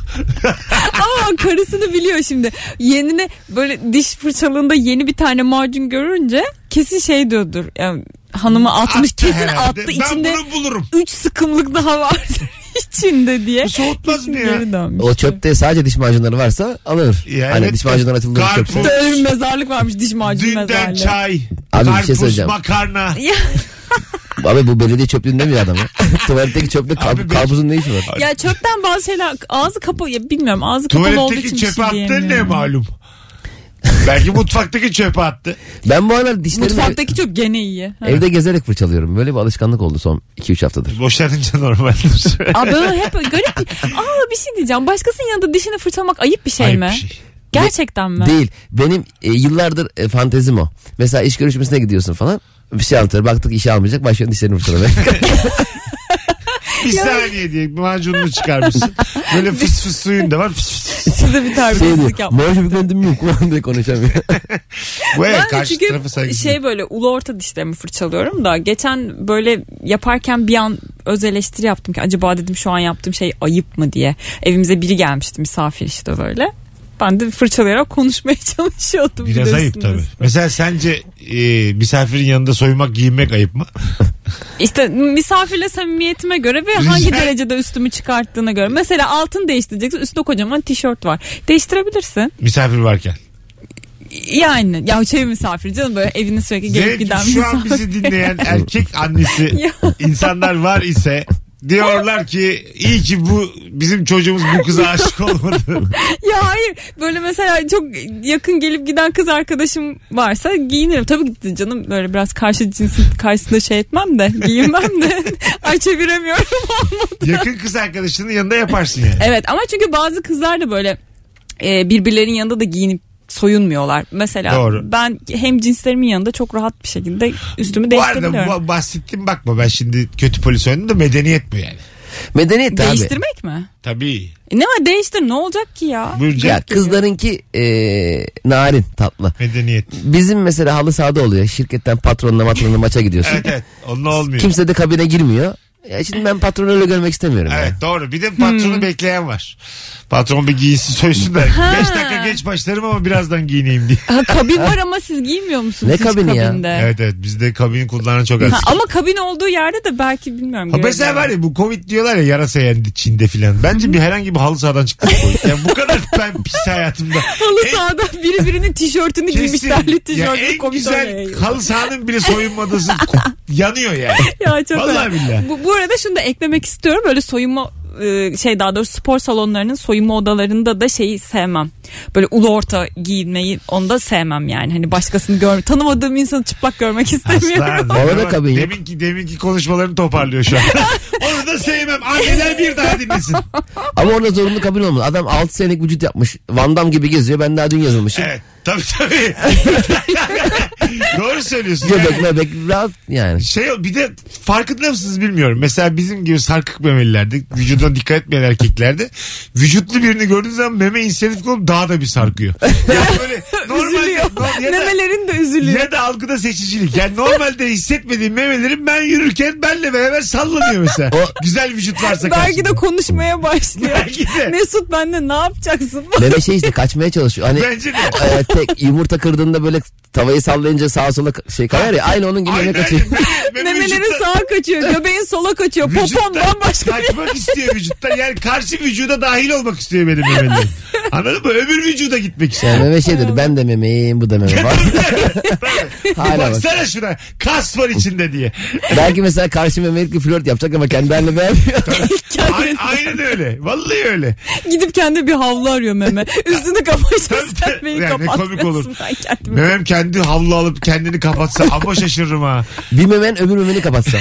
E: Ama karısını biliyor şimdi. Yenine böyle diş fırçalığında yeni bir tane macun görünce kesin şey diyordur. Yani hanımı atmış
C: Attı
E: kesin
C: herhalde.
E: attı. içinde
C: Ben bunu bulurum.
E: 3 sıkımlık daha vardır içinde diye.
C: Bu soğutmaz mı ya?
E: Geri dönmüş.
D: O çöpte sadece diş macunları varsa alır.
C: Ya
D: hani
C: evet.
D: diş macunları atıldığı bir
C: Karpuz.
D: çöpte.
E: Hatta öyle bir mezarlık varmış diş macunu
C: Dünden
E: mezarlığı.
C: çay.
D: Abi bir şey
C: karpuz,
D: söyleyeceğim.
C: makarna.
E: Ya,
D: Abi bu belediye çöplüğünde mi ya adam ya? Tuvaletteki çöpte kar-
C: Abi ben-
D: karpuzun ne işi var?
E: ya çöpten bazı şeyler ağzı kapalı ya bilmiyorum ağzı kapalı olduğu için
C: Tuvaletteki
E: bir şey
C: çöpe attı ne
E: diyemiyorum.
C: malum. Belki mutfaktaki çöpe attı.
D: Ben bu aralar dişlerimi
E: Mutfaktaki çöp gene iyi. Ha.
D: evde gezerek fırçalıyorum. Böyle bir alışkanlık oldu son 2-3 haftadır.
C: Boşanınca normaldir. şey.
E: Aa, böyle hep garip. Aa bir şey diyeceğim. Başkasının yanında dişini fırçalamak ayıp bir şey
C: Ayıp
E: mi?
C: bir şey.
E: Gerçekten mi?
D: Değil. Benim e, yıllardır e, fantezim o. Mesela iş Şey görüşmesine gidiyorsun falan. Bir şey anlatıyor. Baktık işe almayacak. Başlıyorsun dişlerini fırçalamaya.
C: bir saniye diye macununu çıkarmışsın. Böyle fıs fıs suyun da var. Fıs fıs.
E: Size bir
D: Şey diyor,
E: terbiyesizlik yapmak.
D: Mor bir kendim yok falan diye konuşamıyor.
C: Bu evet,
E: Ben de
C: karşı
E: çünkü
C: tarafı saygısızlık.
E: şey böyle ulu orta dişlerimi fırçalıyorum da geçen böyle yaparken bir an öz eleştiri yaptım ki acaba dedim şu an yaptığım şey ayıp mı diye. Evimize biri gelmişti misafir işte böyle. Ben de fırçalayarak konuşmaya çalışıyordum.
C: Biraz ayıp tabii.
E: bilirsiniz.
C: Mesela sence e, misafirin yanında soymak giyinmek ayıp mı?
E: İşte misafirle samimiyetime göre ve
C: Rica-
E: hangi derecede üstümü çıkarttığına göre. Mesela altın değiştireceksin üstte kocaman tişört var. Değiştirebilirsin.
C: Misafir varken.
E: Yani ya şey misafir canım böyle evine sürekli gelip
C: Zeynep
E: giden
C: şu an
E: misafir.
C: bizi dinleyen erkek annesi insanlar var ise diyorlar ki iyi ki bu bizim çocuğumuz bu kıza aşık olmadı.
E: Ya hayır böyle mesela çok yakın gelip giden kız arkadaşım varsa giyinirim. Tabii ki de canım böyle biraz karşı cinsin karşısında şey etmem de giyinmem de. Ay çeviremiyorum.
C: Yakın kız arkadaşının yanında yaparsın yani.
E: evet ama çünkü bazı kızlar da böyle e, birbirlerinin yanında da giyinip soyunmuyorlar. Mesela
C: Doğru.
E: ben hem cinslerimin yanında çok rahat bir şekilde üstümü
C: Bu arada
E: değiştirebiliyorum.
C: bu- bahsettim bakma ben şimdi kötü polis oynadım da medeniyet bu yani.
D: Medeniyet abi.
E: Değiştirmek mi?
C: Tabii.
E: E, ne var değiştir ne olacak ki ya?
C: Burcu
D: Ya kızlarınki eee, narin tatlı.
C: medeniyet.
D: Bizim mesela halı sahada oluyor. Şirketten patronla matronla maça gidiyorsun.
C: Evet evet onunla olmuyor.
D: Kimse de kabine girmiyor. Ya şimdi ben patronu öyle görmek istemiyorum.
C: Evet
D: Ya.
C: doğru. Bir de patronu
E: Hmm.
C: bekleyen var. Patron bir giyinsin soysun da. 5 dakika geç başlarım ama birazdan giyineyim diye.
E: Ha, kabin var ama siz giymiyor musunuz
D: Ne
E: hiç
D: kabini ya?
E: kabinde?
C: Evet evet bizde kabini kullanan çok az.
E: Ha, ama kabin olduğu yerde de belki bilmiyorum.
C: Ha mesela
E: görebilirim.
C: var ya bu Covid diyorlar ya yarasa yendi Çin'de filan. Bence bir herhangi bir halı sahadan çıktı bu Covid. Yani bu kadar ben pis hayatımda.
E: Halı
C: En-
E: sahada biri birinin tişörtünü giymiş
C: Kesin.
E: terli
C: Ya
E: tişörtlü
C: en
E: komik
C: güzel halı sahanın bile soyunmadası yanıyor yani.
E: Ya çok
C: Vallahi billahi.
E: bu, bu arada şunu da eklemek istiyorum. Böyle soyunma e, şey daha doğrusu spor salonlarının soyunma odalarında da şeyi sevmem. Böyle ulu orta giyinmeyi onu da sevmem yani. Hani başkasını gör tanımadığım insanı çıplak görmek istemiyorum.
C: Aslan.
D: Orada da kabin yok.
C: Deminki, deminki konuşmalarını toparlıyor şu an. Onu da sevmem. Anneler bir daha dinlesin.
D: Ama orada zorunlu kabin olmalı. Adam 6 senelik vücut yapmış. Van Damme gibi geziyor. Ben daha dün yazılmışım.
C: Evet. Tabii tabii. Doğru söylüyorsun.
D: Göbek mebek rahat yani.
C: Şey bir de farkında mısınız bilmiyorum. Mesela bizim gibi sarkık memelilerde, vücuduna dikkat etmeyen erkeklerde vücutlu birini gördüğünüz zaman meme inisiyatif olup daha da bir sarkıyor. Yani böyle normalde
E: üzülüyor.
C: no- ya da,
E: Memelerin de üzülüyor.
C: ya da algıda seçicilik. Yani normalde hissetmediğim memelerim ben yürürken benle beraber sallanıyor mesela. Güzel vücut varsa
E: Belki de
C: karşımda.
E: konuşmaya başlıyor.
C: Belki de.
E: Mesut bende ne yapacaksın?
D: Bebe şey işte kaçmaya çalışıyor. Hani
C: Bence de.
D: eee, tek yumurta kırdığında böyle tavayı sallayınca sağa sola ka- şey kayar ya. Aynı onun gibi ne
C: Aynen.
D: kaçıyor.
C: Meme
E: Memelerin
C: vücutta-
E: sağa kaçıyor, göbeğin sola kaçıyor. Popom
C: Vücuttan
E: bambaşka bir
C: Kaçmak istiyor vücutta. Yani karşı vücuda dahil olmak istiyor benim memelerim. Anladın mı? Öbür vücuda gitmek istiyor.
D: Yani meme şeydir. Ben de memeyim bu da meme. Bak, Hala bak.
C: Baksana şuna kas var içinde diye.
D: Belki mesela karşı memelikle flört yapacak ama kendi haline beğenmiyor.
C: A- aynen öyle. Vallahi öyle.
E: Gidip kendi bir havlu arıyor meme. Üstünü kapatacağız
C: Tabii.
E: sen beni
C: Yani ne komik olur.
E: kapatmıyorsun. Ben kendimi-
C: Memem kendi havlu alıp kendini kapatsa ama şaşırırım ha.
D: bir memen öbür memeni kapatsa.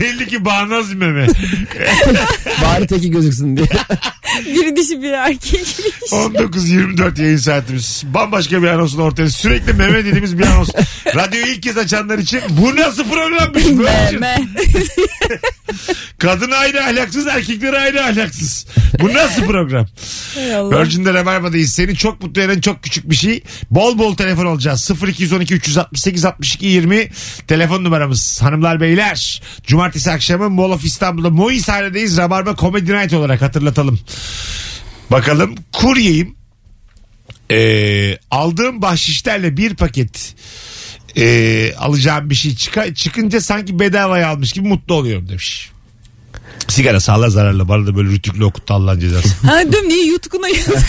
C: Belli ki bağnaz bir meme.
D: Bari teki gözüksün diye.
E: Biri dişi biri erkek.
C: 19-24 yayın saatimiz. Bambaşka bir anonsun ortaya. Sürekli meme dediğimiz bir anons. Radyoyu ilk kez açanlar için bu nasıl programmış? Böyle şey.
E: meme.
C: Kadın ayrı ahlaksız, erkekler ayrı ahlaksız. Bu nasıl program?
E: Hay Allah.
C: Virgin'de Rabarba'dayız. Seni çok mutlu eden çok küçük bir şey. Bol bol telefon alacağız. 0212 368 62 20 telefon numaramız. Hanımlar beyler. Cumartesi akşamı Mall of İstanbul'da Moishane'deyiz. Rabarba Comedy Night olarak hatırlatalım. Bakalım kuryeyim. Ee, aldığım bahşişlerle bir paket ee, alacağım bir şey çıka, çıkınca sanki bedavaya almış gibi mutlu oluyorum demiş. Sigara sağlığa zararlı. Bana da böyle rütüklü okuttu Allah'ın cezası.
E: Ha düm niye yutkuna yutkuna.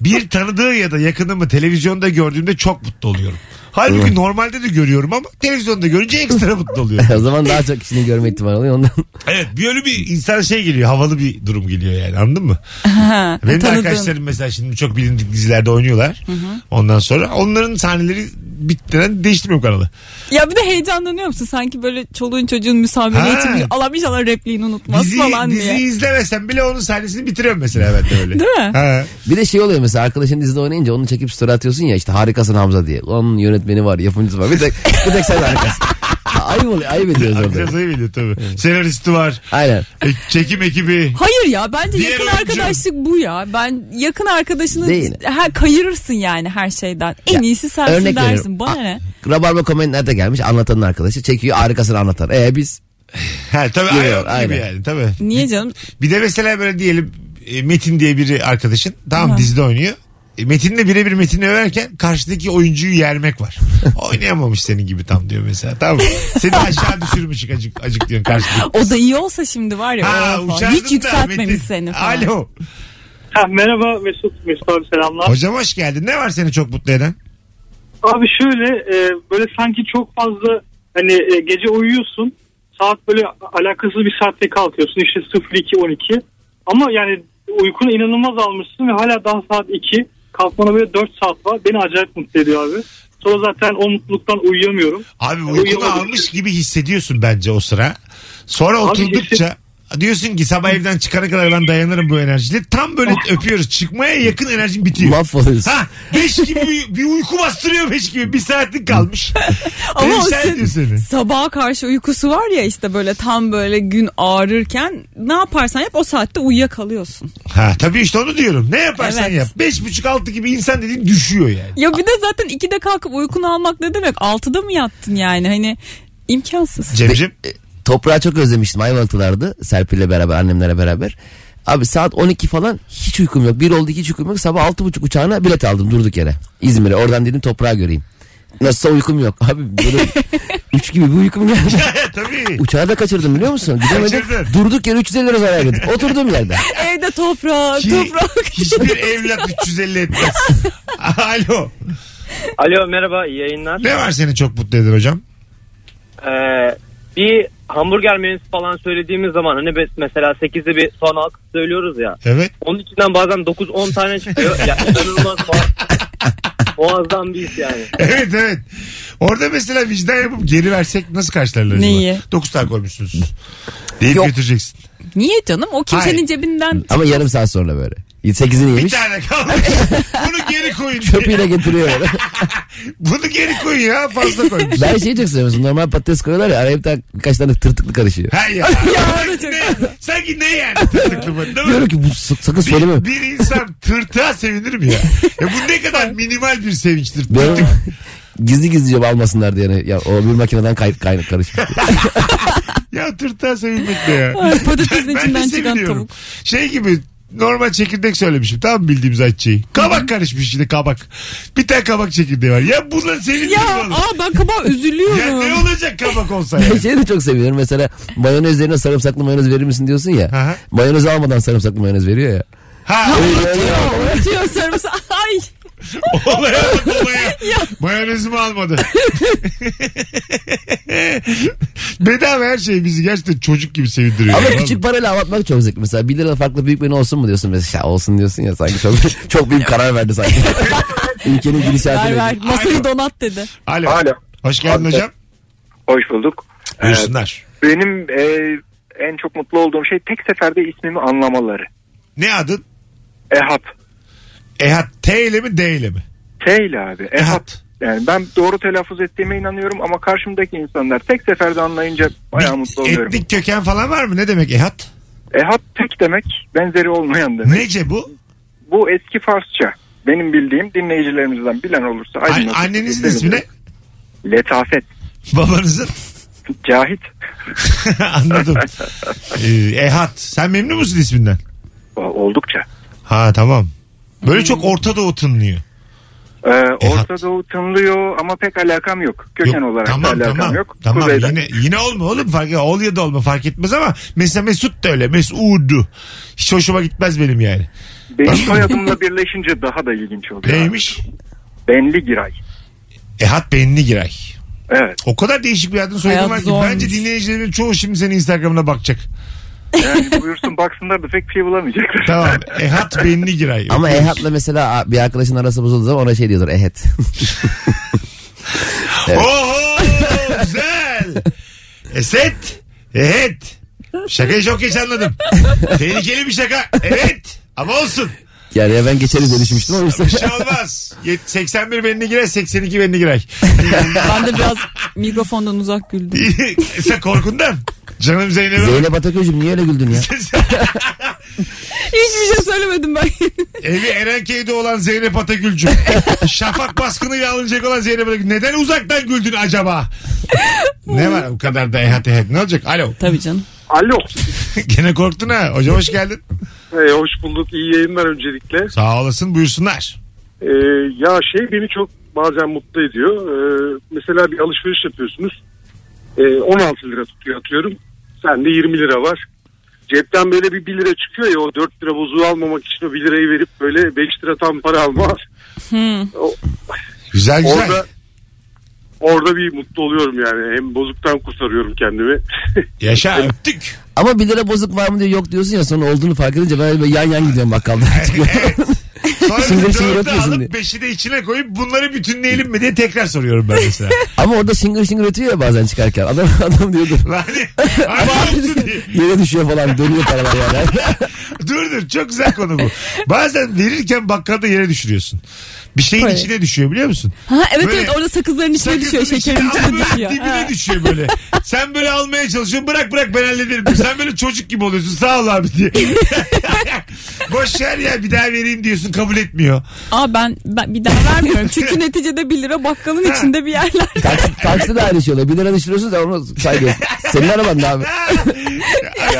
C: Bir tanıdığı ya da yakınımı televizyonda gördüğümde çok mutlu oluyorum. Halbuki normalde de görüyorum ama televizyonda görünce ekstra mutlu oluyorum.
D: o zaman daha çok kişinin görme ihtimali oluyor. Ondan
C: Evet böyle bir insan şey geliyor havalı bir durum geliyor yani anladın mı?
E: Ha,
C: Benim de
E: tanıdığım.
C: arkadaşlarım mesela şimdi çok bilindik dizilerde oynuyorlar. Ondan sonra onların sahneleri bittiren değiştirmiyorum kanalı.
E: Ya bir de heyecanlanıyor musun? Sanki böyle çoluğun çocuğun müsamele
C: Ha.
E: için bir alan inşallah repliğini unutmaz
C: Dizi,
E: falan
C: dizi
E: diye.
C: izlemesem bile onun sahnesini bitiriyorum mesela ben de öyle.
E: Değil mi?
C: Ha.
D: Bir de şey oluyor mesela arkadaşın dizide oynayınca onu çekip story atıyorsun ya işte harikasın Hamza diye. Onun yönetmeni var, yapımcısı var. Bir tek, bir tek sen harikasın. ayıp oluyor. Ayıp ediyoruz orada.
C: Biraz ayıp ediyor tabii. Senaristi var.
D: Aynen.
C: e, Çekim ekibi.
E: Hayır ya bence
C: Diğer
E: yakın
C: oyuncu.
E: arkadaşlık bu ya. Ben yakın arkadaşını
D: Değil.
E: her kayırırsın yani her şeyden. En
D: Ya,
E: iyisi sensin
D: örnek veriyorum.
E: dersin. Bana
D: A-
E: ne?
D: Rabarba komedinin de gelmiş anlatanın arkadaşı. Çekiyor arkasını anlatan. E biz
C: Ha, tabii
D: Giriyor,
C: aynen. gibi
D: aynen.
C: yani tabii.
E: Niye canım?
C: Bir de mesela böyle diyelim e, Metin diye biri arkadaşın. Tamam
E: Aha.
C: dizide oynuyor. E, Metin'le birebir Metin'i överken karşıdaki oyuncuyu yermek var. Oynayamamış senin gibi tam diyor mesela. Tamam. Seni aşağı düşürmüş acık acık diyorsun karşıdaki.
E: O da iyi olsa şimdi var ya.
C: Ha,
E: o falan.
C: uçardın
E: Hiç
C: da
E: yükseltmemiş
C: Metin.
E: seni falan.
C: Alo.
G: Ha, merhaba Mesut. Mesut abi selamlar.
C: Hocam hoş geldin. Ne var seni çok mutlu eden?
G: Abi şöyle e, böyle sanki çok fazla hani e, gece uyuyorsun saat böyle alakasız bir saatte kalkıyorsun işte 02-12 ama yani uykunu inanılmaz almışsın ve hala daha saat 2 kalkmana böyle 4 saat var beni acayip mutlu ediyor abi. Sonra zaten o mutluluktan uyuyamıyorum.
C: Abi uykunu
G: Uyuyamadım.
C: almış gibi hissediyorsun bence o sıra. Sonra oturdukça diyorsun ki sabah evden çıkana kadar ben dayanırım bu enerjiyle. Tam böyle öpüyoruz. Çıkmaya yakın enerjin bitiyor.
D: mahvoluruz.
C: Ha beş gibi bir- bir uyku bastırıyor beş gibi. Bir saatlik kalmış.
E: Ama o
C: Perişan ediyor seni.
E: senin sabaha karşı uykusu var ya işte böyle tam böyle gün ağrırken ne yaparsan yap o saatte uyuyakalıyorsun.
C: Ha tabii işte onu diyorum. Ne yaparsan
E: Evet.
C: yap. Beş buçuk altı gibi insan dediğin düşüyor yani.
E: Ya bir de zaten 2'de kalkıp uykunu almak ne demek? 6'da mı yattın yani? Hani imkansız.
C: Cemcim
D: Toprağı çok özlemiştim Ayvalıklılardı. Serpil'le beraber annemlere beraber. Abi saat 12 falan hiç uykum yok. Bir oldu iki hiç uykum yok. Sabah 6.30 uçağına bilet aldım durduk yere. İzmir'e oradan dedim toprağı göreyim. Nasılsa uykum yok. Abi böyle üç gibi bir uykum geldi.
C: tabii.
D: Uçağı da kaçırdım biliyor musun? Gidemedim.
C: Kaçırdın.
D: Durduk yere 350 lira zarar yedim. Oturduğum yerde.
E: Evde toprağa,
C: Ki
E: toprak.
C: hiçbir evlat 350 etmez. Alo.
F: Alo merhaba iyi yayınlar.
C: Ne var seni çok mutlu eden hocam?
F: Ee, bir hamburger menüsü falan söylediğimiz zaman hani biz mesela 8'de bir son halk söylüyoruz ya.
C: Evet.
F: Onun içinden bazen 9-10 tane çıkıyor. ya inanılmaz boğaz- boğazdan bir iş yani.
C: Evet evet. Orada mesela vicdan yapıp geri versek nasıl karşılarlar
E: Neyi?
C: 9 tane koymuşsunuz. Deyip
D: Yok.
C: götüreceksin.
E: Niye canım? O kimsenin
C: Hayır.
E: cebinden
D: Ama yarım saat sonra böyle. 8'ini
C: Bir
D: yemiş.
C: tane kalmış. Bunu geri koyun.
D: Çöpüyle getiriyor böyle.
C: Bunu geri koyun ya fazla koymuş.
D: Ben şey çok seviyorum. Normal patates koyuyorlar ya. Araya bir tane birkaç tane tırtıklı karışıyor.
C: Ha ya.
E: da çok-
C: ne, sanki ne yani tırtıklı mı? Değil mi?
D: Diyorum ki bu sak- sakın söyleme.
C: Bir, bir insan tırtığa sevinir mi ya? ya? Bu ne kadar minimal bir sevinçtir.
D: Ben
C: Tırtık.
D: gizli gizli cebe almasınlar diye. Yani. Ya, o bir makineden kay, kay, karışmış.
C: ya tırtığa sevinmek ne ya?
E: Ay, patatesin
C: Ben de
E: içinden çıkan
C: seviniyorum.
E: tavuk.
C: Şey gibi normal çekirdek söylemişim. Tamam mı bildiğimiz açıyı. Kabak karışmış içinde kabak. Bir tane kabak çekirdeği var. Ya bunlar sevindir
E: Ya
C: oğlum.
E: aa ben kabağa
C: Ya ne
E: üzülüyorum.
C: olacak kabak olsa ya?
D: Ben şeyi de çok seviyorum. Mesela mayonez yerine sarımsaklı mayonez verir misin diyorsun ya.
C: Aha.
D: Mayonez almadan sarımsaklı mayonez veriyor ya.
C: ha
E: Unutuyor sarımsak. Ay.
C: olaya bak olaya. Mayonezimi almadı. Bedava her şey bizi gerçekten çocuk gibi sevindiriyor.
D: Ama
C: Tamam mı?
D: küçük parayla anlatmak çok zevkli. Mesela 1 lira farklı büyük menü olsun mu diyorsun. Mesela "Ya olsun diyorsun ya sanki çok, çok büyük karar verdi sanki. Ülkenin
E: Ver
D: gidişatı.
E: ver. Masayı donat dedi.
C: Alo.
H: Alo.
C: Hoş geldin
H: Abi,
C: hocam.
H: Hoş bulduk.
C: Buyursunlar.
H: Benim e, en çok mutlu olduğum şey tek seferde ismimi anlamaları.
C: Ne adın?
H: Ehap.
C: Ehat T ile mi D ile mi?
H: T ile abi. Ehap.
C: Ehat.
H: Yani ben doğru telaffuz ettiğime inanıyorum ama karşımdaki insanlar tek seferde anlayınca bayağı mutlu oluyorum.
C: Etnik köken falan var mı? Ne demek Ehat?
H: Ehap tek demek, benzeri olmayan demek.
C: Nece bu?
H: Bu eski Farsça. Benim bildiğim dinleyicilerimizden bilen olursa.
C: An-
H: aydınlatın.
C: annenizin ismi ne?
H: Letafet.
C: Babanızın?
H: Cahit.
C: Anladım. Ee, Ehat. Sen memnun musun isminden?
H: Oldukça.
C: Ha tamam.
H: Hmm.
C: Böyle çok Orta Doğu tınlıyor.
H: Ee, Orta
C: hat-
H: Doğu tınlıyor ama pek alakam yok. Köken
C: Yok,
H: olarak
C: tamam,
H: da alakam
C: tamam,
H: yok.
C: Tamam
H: Kuzeyden.
C: yine, yine olma oğlum fark etmez. Ol ya da olma fark etmez ama mesela Mesut da öyle. Mesut'u. Hiç hoşuma gitmez benim yani.
H: Benim soyadımla birleşince daha da ilginç oluyor.
C: Neymiş?
H: Benli Giray.
C: Ehat Beynli Giray.
H: Evet.
C: O kadar değişik bir adın soyadı
E: Hayat
C: var ki.
E: zormuş.
C: Bence dinleyicilerin çoğu şimdi senin Instagram'ına bakacak.
H: Yani buyursun baksınlar da pek bir şey bulamayacaklar.
C: Tamam. Ehat Beynli Giray.
D: Ama Ehat'la mesela bir arkadaşın arası bozulduğu zaman ona şey diyordur Ehet.
C: Oho güzel. E, Eset. Evet. Şakayı çok geç anladım. Tehlikeli bir şaka. Evet. Ama olsun.
D: Yani ya ben geçeriz diye düşünmüştüm ama
C: Bir şey olmaz. Yet- 81 benini girer 82 benini girer.
E: Ben de biraz mikrofondan uzak güldüm.
C: Sen korkundan. Canım Zeynep'e.
D: Zeynep Ataköy'cüm niye öyle güldün ya?
E: Hiçbir şey söylemedim ben.
C: Evi Erenkey'de olan Zeynep Atagül'cüm. Şafak baskınıyla alınacak olan Zeynep Atagül. Neden uzaktan güldün acaba? ne var o kadar da ehat ehat. Ne olacak? Alo.
E: Tabii canım.
L: Alo.
C: Gene korktun ha. Hocam hoş geldin.
L: Ee, hoş bulduk. İyi yayınlar öncelikle.
C: Sağ olasın buyursunlar.
L: Ee, ya şey beni çok bazen mutlu ediyor. Ee, mesela bir alışveriş yapıyorsunuz. Ee, 16 lira tutuyor atıyorum. Sende 20 lira var. Cepten böyle bir 1 lira çıkıyor ya o 4 lira bozuğu almamak için o 1 lirayı verip böyle 5 lira tam para alma. O-
C: Güzel güzel.
L: Orada, orada bir mutlu oluyorum yani. Hem bozuktan kurtarıyorum kendimi.
C: Yaşa öptük.
D: Ama bir lira bozuk var mı diyor yok diyorsun ya sonra olduğunu fark edince ben böyle yan yan gidiyorum bakkaldan.
C: Sonra
D: Sindir
C: bir
D: sindir
C: dörde
D: ötüyorsun
C: alıp
D: diye.
C: beşi de içine koyup bunları bütünleyelim mi diye tekrar soruyorum ben mesela.
D: Ama orada şıngır şıngır ötüyor ya bazen çıkarken. Adam adam diyordu.
C: Yani hani yoktu diye.
D: Yere düşüyor falan dönüyor paralar yani.
C: dur dur çok güzel konu bu. Bazen verirken bakkalda yere düşürüyorsun. Bir şeyin
E: Hayır.
C: içine düşüyor biliyor musun?
E: Ha evet
C: Böyle-
E: evet orada sakızların içine düşüyor,
C: Sakızın
E: şekerin
C: içine
E: içine
C: al, böyle
E: düşüyor. Ha.
C: Dibine düşüyor böyle. Sen böyle almaya çalışıyorsun. Bırak bırak ben hallederim. Sen böyle çocuk gibi oluyorsun. Sağ ol abi diye. Boş ver ya bir daha vereyim diyorsun kabul etmiyor.
E: Aa ben, ben bir daha vermiyorum. Çünkü neticede 1 lira bakkalın içinde bir yerler.
D: Taksi, taksi de aynı şey oluyor. Bir lira düşürüyorsun da onu saygıyorsun. Senin araban da abi.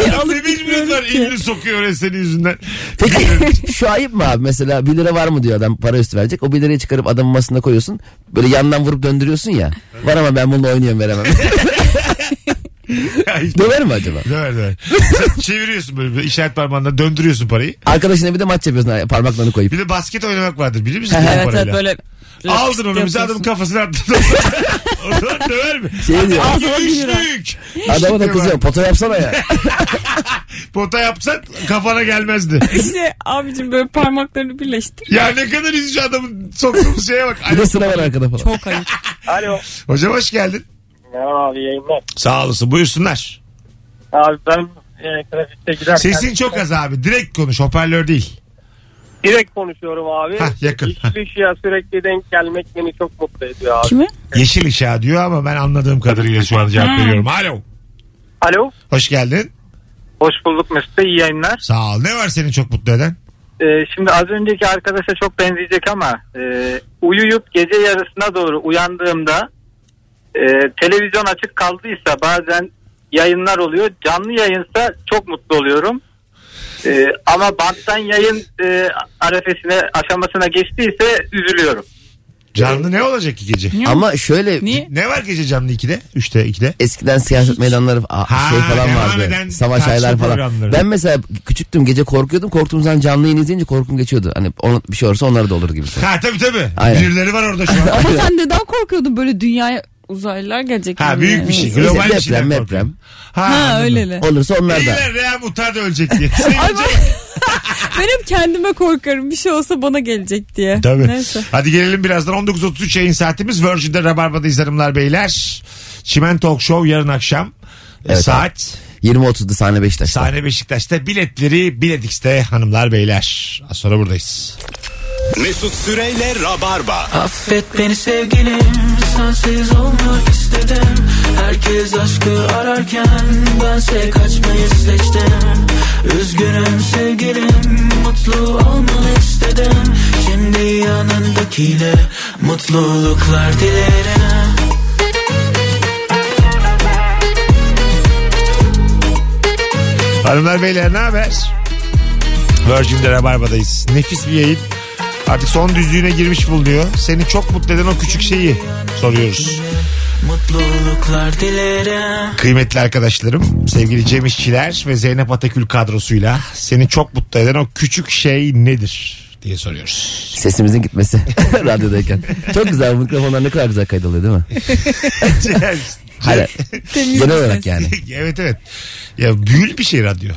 C: Adam
E: alıp
C: ne bilmiyorsun var
E: gitmiyorum ki.
C: elini sokuyor öyle senin yüzünden.
D: Peki şu ayıp mı abi? Mesela 1 lira var mı diyor adam para üstü verecek. O 1 lirayı çıkarıp adamın masasına koyuyorsun. Böyle yandan vurup döndürüyorsun ya. Var ama ben bununla oynuyorum veremem. Döver mi acaba?
C: Döver döver. Sen Çeviriyorsun böyle bir işaret parmağında döndürüyorsun parayı.
D: Arkadaşına bir de maç yapıyorsun parmaklarını koyup.
C: Bir de basket oynamak vardır bilir misin?
E: evet evet
C: Parayla.
E: böyle.
C: Aldın onu bize adamın kafasına attın. o zaman döver mi?
D: Şey diyor.
E: Ağzına bir lira.
C: Üçlük. şey
D: Adama da kızıyor. Foto yapsana ya.
C: Pota yapsan kafana gelmezdi.
E: İşte abicim böyle parmaklarını birleştir.
C: Ya ne kadar üzücü adamın soktuğumuz şeye bak.
D: Bir
C: Alo.
D: de sıra var arkada falan.
E: Çok ayıp.
F: Alo.
C: Hocam hoş geldin.
F: Merhaba abi yayınlar.
C: Sağ olasın buyursunlar.
F: Abi ben e, trafikte giderken...
C: Sesin çok az abi. Direkt konuş hoparlör değil.
F: Direkt konuşuyorum abi.
C: Hah, yakın.
F: Yeşil ışığa sürekli denk gelmek beni çok mutlu ediyor abi.
E: Kimi?
C: Yeşil ışığa diyor ama ben anladığım kadarıyla şu an cevap veriyorum. Alo.
F: Alo.
C: Hoş geldin.
F: Hoş bulduk Mesut Bey. iyi yayınlar.
C: Sağ ol. Ne var seni çok mutlu eden?
F: E, şimdi az önceki arkadaşa çok benzeyecek ama e, uyuyup gece yarısına doğru uyandığımda e, televizyon açık kaldıysa bazen yayınlar oluyor. Canlı yayınsa çok mutlu oluyorum. E, ama banttan yayın e, arefesine aşamasına geçtiyse üzülüyorum.
C: Canlı ne olacak ki gece?
D: Ama şöyle
E: Niye?
C: Ne var gece canlı 2'de? 3'te 2'de?
D: eskiden siyaset meydanları a-
C: Ha,
D: şey falan
C: devam
D: vardı.
C: eden
D: Savaş
C: tartışma
D: aylar falan.
C: programları.
D: Ben mesela küçüktüm gece korkuyordum. Korktuğum zaman canlı yayın izleyince korkum geçiyordu. Hani onu, bir şey olursa onlar da olur gibi.
C: Ha tabii tabii.
D: Aynen.
C: Birileri var orada şu an.
E: Ama sen neden korkuyordun böyle dünyaya uzaylılar gelecek?
C: Ha
E: gibi
C: büyük
E: yani.
C: bir şey.
D: Neyse,
C: Global bir şeyden
D: deprem,
C: korkuyorum.
D: deprem.
E: Ha
C: anladım.
E: öyle.
D: Olursa onlar da.
C: Beyler Rea Mutar da ölecek diye.
E: Ay
C: Sevince-
E: ben, ben hep kendime korkarım. Bir şey olsa bana gelecek diye.
C: Tabii.
E: Neyse.
C: Hadi gelelim birazdan 19.33 yayın saatimiz. Virgin'de Rabarba'dayız hanımlar beyler. Çimen Talk Show yarın akşam. e,
D: Evet
C: saat
D: 20.30'da sahne Beşiktaş'ta.
C: sahne Beşiktaş'ta biletleri Biletix'te hanımlar beyler. Az sonra buradayız.
B: Mesut Süreyle Rabarba.
M: Affet beni sevgilim Sensiz olmak istedim Herkes aşkı ararken Bense kaçmayı seçtim Üzgünüm sevgilim Mutlu olmanı istedim Şimdi yanındakiyle Mutluluklar dilerim
C: Hanımlar beyler ne haber? Virgin'de Rabarba'dayız. Nefis bir yayın. Artık son düzlüğüne girmiş bulunuyor. Seni çok mutlu eden o küçük şeyi soruyoruz.
M: Mutluluklar dilerim
C: Kıymetli arkadaşlarım, sevgili Cem İşçiler ve Zeynep Atakül kadrosuyla seni çok mutlu eden o küçük şey nedir diye soruyoruz.
D: Sesimizin gitmesi radyodayken. Çok güzel bu mikrofonlar ne kadar güzel kaydoluyor değil mi? Hayır.
E: Temiz
D: genel
E: bir
D: olarak
E: ses.
D: yani.
C: evet evet. Ya büyülü bir şey radyo.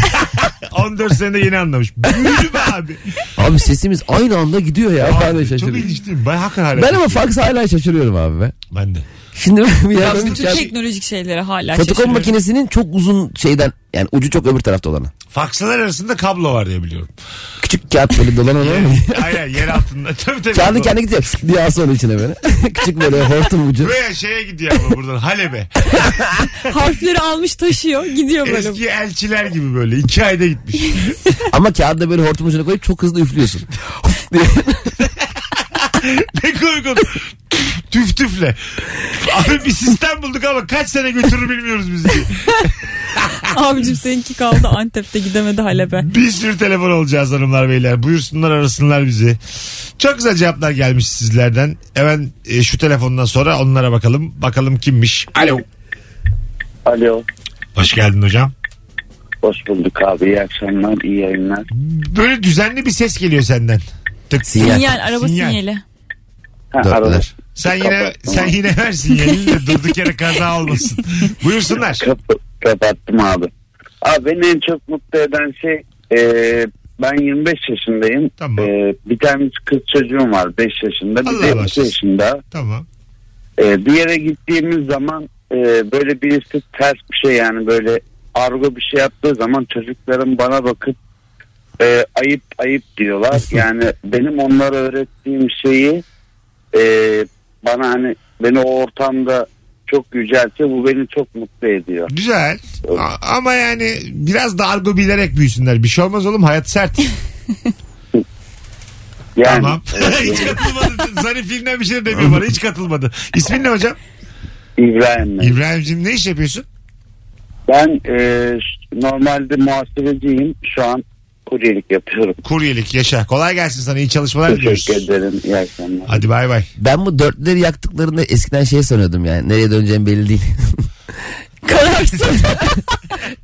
C: 14 senede yeni anlamış. Büyülü be abi.
D: Abi sesimiz aynı anda gidiyor ya. ben de
C: Abi, çok
D: şaşırıyorum.
C: ilginç değil mi? Ben hakikaten hala
D: Ben ama
C: şaşırıyorum.
D: faks hala şaşırıyorum abi be.
C: Ben de.
D: Şimdi bir
E: Ya
D: yandan-
E: bütün şey- teknolojik şeylere hala
D: Fotokopi
E: şaşırıyorum.
D: makinesinin çok uzun şeyden yani ucu çok öbür tarafta olanı.
C: Fakslar arasında kablo var diye biliyorum.
D: Küçük kağıt böyle dolan olan mı?
C: Aynen yer altında. Tabii tabii.
D: Kağıdın kendi gidiyor. Diye asıyor onun içine böyle. Küçük böyle hortum ucu.
C: Buraya şeye gidiyor ama buradan Halep'e.
E: Harfleri almış taşıyor gidiyor böyle.
C: Eski elçiler gibi böyle. iki ayda gitmiş.
D: Ama kağıdı da böyle hortum ucuna koyup çok hızlı üflüyorsun. diye.
C: ne komik oldu. Tüf tüfle. Abi bir sistem bulduk ama kaç sene götürür bilmiyoruz bizi.
E: Abicim seninki kaldı Antep'te gidemedi Halep'e.
C: Bir sürü telefon olacağız hanımlar beyler. Buyursunlar arasınlar bizi. Çok güzel cevaplar gelmiş sizlerden. Hemen e, şu telefondan sonra onlara bakalım. Bakalım kimmiş. Alo.
N: Alo.
C: Hoş geldin hocam.
N: Hoş bulduk abi. İyi akşamlar, iyi yayınlar.
C: Böyle düzenli bir ses geliyor senden. Tık.
E: Sinyal, araba sinyali.
N: Ha, arada.
C: Sen yine sen yine ver sinyalini de durduk yere kaza olmasın. Buyursunlar.
N: Kapattım abi. Abi beni en çok mutlu eden şey e, ben 25 yaşındayım. E, bir tane kız çocuğum var 5 yaşında. Bir de 2 yaşında.
C: Tamam.
N: E, bir yere gittiğimiz zaman e, böyle birisi ters bir şey yani böyle argo bir şey yaptığı zaman çocuklarım bana bakıp e, ayıp ayıp diyorlar. Yani benim onlara öğrettiğim şeyi e, bana hani beni o ortamda çok yüceltiyor. Bu beni çok mutlu ediyor.
C: Güzel. A- ama yani biraz da argo bilerek büyüsünler. Bir şey olmaz oğlum hayat sert.
N: Yani,
C: tamam. hiç katılmadı. Zarifliğinden bir şey de demiyor bana. Hiç katılmadı. İsmin ne hocam?
N: İbrahim Bey.
C: İbrahim'cim ne iş yapıyorsun?
N: Ben e, ş- normalde muhasebeciyim. Şu an kuryelik yapıyorum.
C: Kuryelik yaşa. Kolay gelsin sana. İyi çalışmalar diliyoruz.
N: Teşekkür ederim. İyi akşamlar.
C: Hadi bay bay.
D: Ben bu dörtleri yaktıklarında eskiden şey sanıyordum yani. Nereye döneceğim belli değil.
E: Kararsız.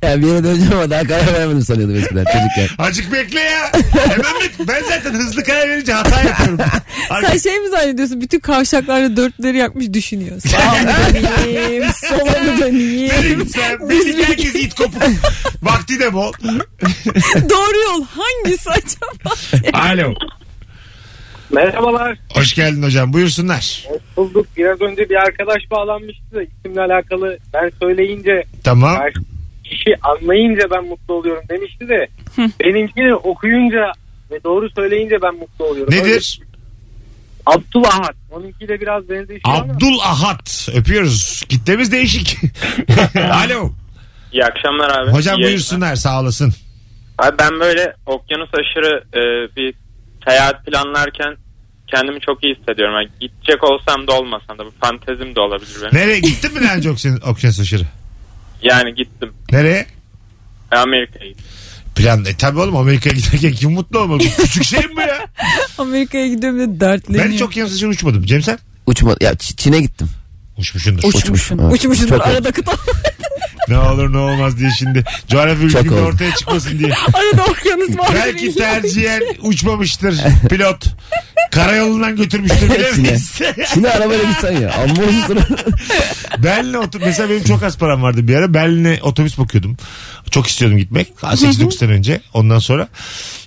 D: yani bir yere döneceğim ama daha karar veremedim sanıyordum eskiden çocukken.
C: Acık bekle ya. Hemen bek- Ben zaten hızlı karar verince hata yapıyorum.
E: Sen şey mi zannediyorsun? Bütün kavşaklarda dörtleri yakmış düşünüyor. Sağa mı döneyim? Sola mı döneyim?
C: Benim, sen, benim herkes it kopuk. Vakti de bol.
E: Doğru yol hangisi acaba?
C: Alo.
O: Merhabalar.
C: Hoş geldin hocam. Buyursunlar.
O: Bulduk. Biraz önce bir arkadaş bağlanmıştı da isimle alakalı. Ben söyleyince
C: Tamam.
O: karşı kişi anlayınca ben mutlu oluyorum demişti de benimkini okuyunca ve doğru söyleyince ben mutlu oluyorum.
C: Nedir?
O: Abdul Ahad. Onunki de biraz benzeşiyor ama.
C: Abdul Ahad. Öpüyoruz. Kitlemiz değişik. Alo.
P: İyi akşamlar abi.
C: Hocam
P: İyi
C: buyursunlar. Sağ olasın.
P: yayınlar. Abi ben böyle okyanus aşırı e, bir seyahat planlarken kendimi çok iyi hissediyorum. Yani gidecek olsam da olmasam da bu fantezim de olabilir benim.
C: Nereye gittin mi daha önce Okşen- Okşen aşırı?
P: Yani gittim.
C: Nereye?
P: Amerika'ya gittim.
C: Plan. E tabi oğlum Amerika'ya giderken kim mutlu olmalı? Bu Küçük şey mi bu ya?
E: Amerika'ya gidiyorum da dertleniyor.
C: Ben çok yansıcı uçmadım. Cem sen?
D: Uçma, ya Ç- Çin'e gittim.
C: Uçmuşsundur.
E: Uçmuşsun. Uçmuşsun. Arada kıta.
C: ne olur ne olmaz diye şimdi. Coğrafya bilginin
D: oldu.
C: ortaya çıkmasın diye.
E: Arada okyanus var.
C: Belki tercihen uçmamıştır pilot. Karayolundan götürmüştür bilemeyiz.
D: Çin'e. Çin'e arabayla gitsen ya. Amma olsun.
C: Berlin'e otur. Mesela benim çok az param vardı bir ara. Berlin'e otobüs bakıyordum. Çok istiyordum gitmek. 8-9 sene önce. Ondan sonra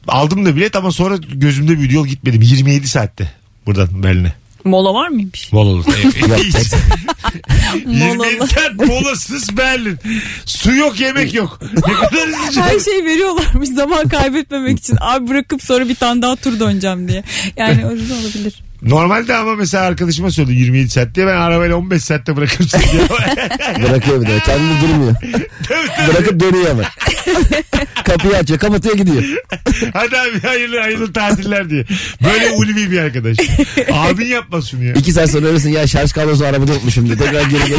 C: aldım da bilet ama sonra gözümde büyüdü. Yol gitmedim. 27 saatte buradan Berlin'e.
E: Mola var şey? mıymış?
C: Bol olur.
E: Yok, tek-
C: 27 saat molasız Berlin. Su yok yemek yok. Ne kadar üzücü.
E: Her şey veriyorlarmış zaman kaybetmemek için. Abi bırakıp sonra bir tane daha tur döneceğim diye. Yani öyle olabilir.
C: Normalde ama mesela arkadaşıma söyledi 27 saat diye ben arabayla 15 saatte bırakırım seni diye.
D: Bırakıyor bir de. Kendini durmuyor. Bırakıp dönüyor ama. Kapıyı açıyor. Kapatıyor gidiyor.
C: Hadi abi hayırlı hayırlı tatiller diye. Böyle ulvi bir arkadaş. Abin yapmaz şunu ya.
D: İki saat sonra öylesin ya şarj kablosu arabada unutmuşum diye. Tekrar geri gel.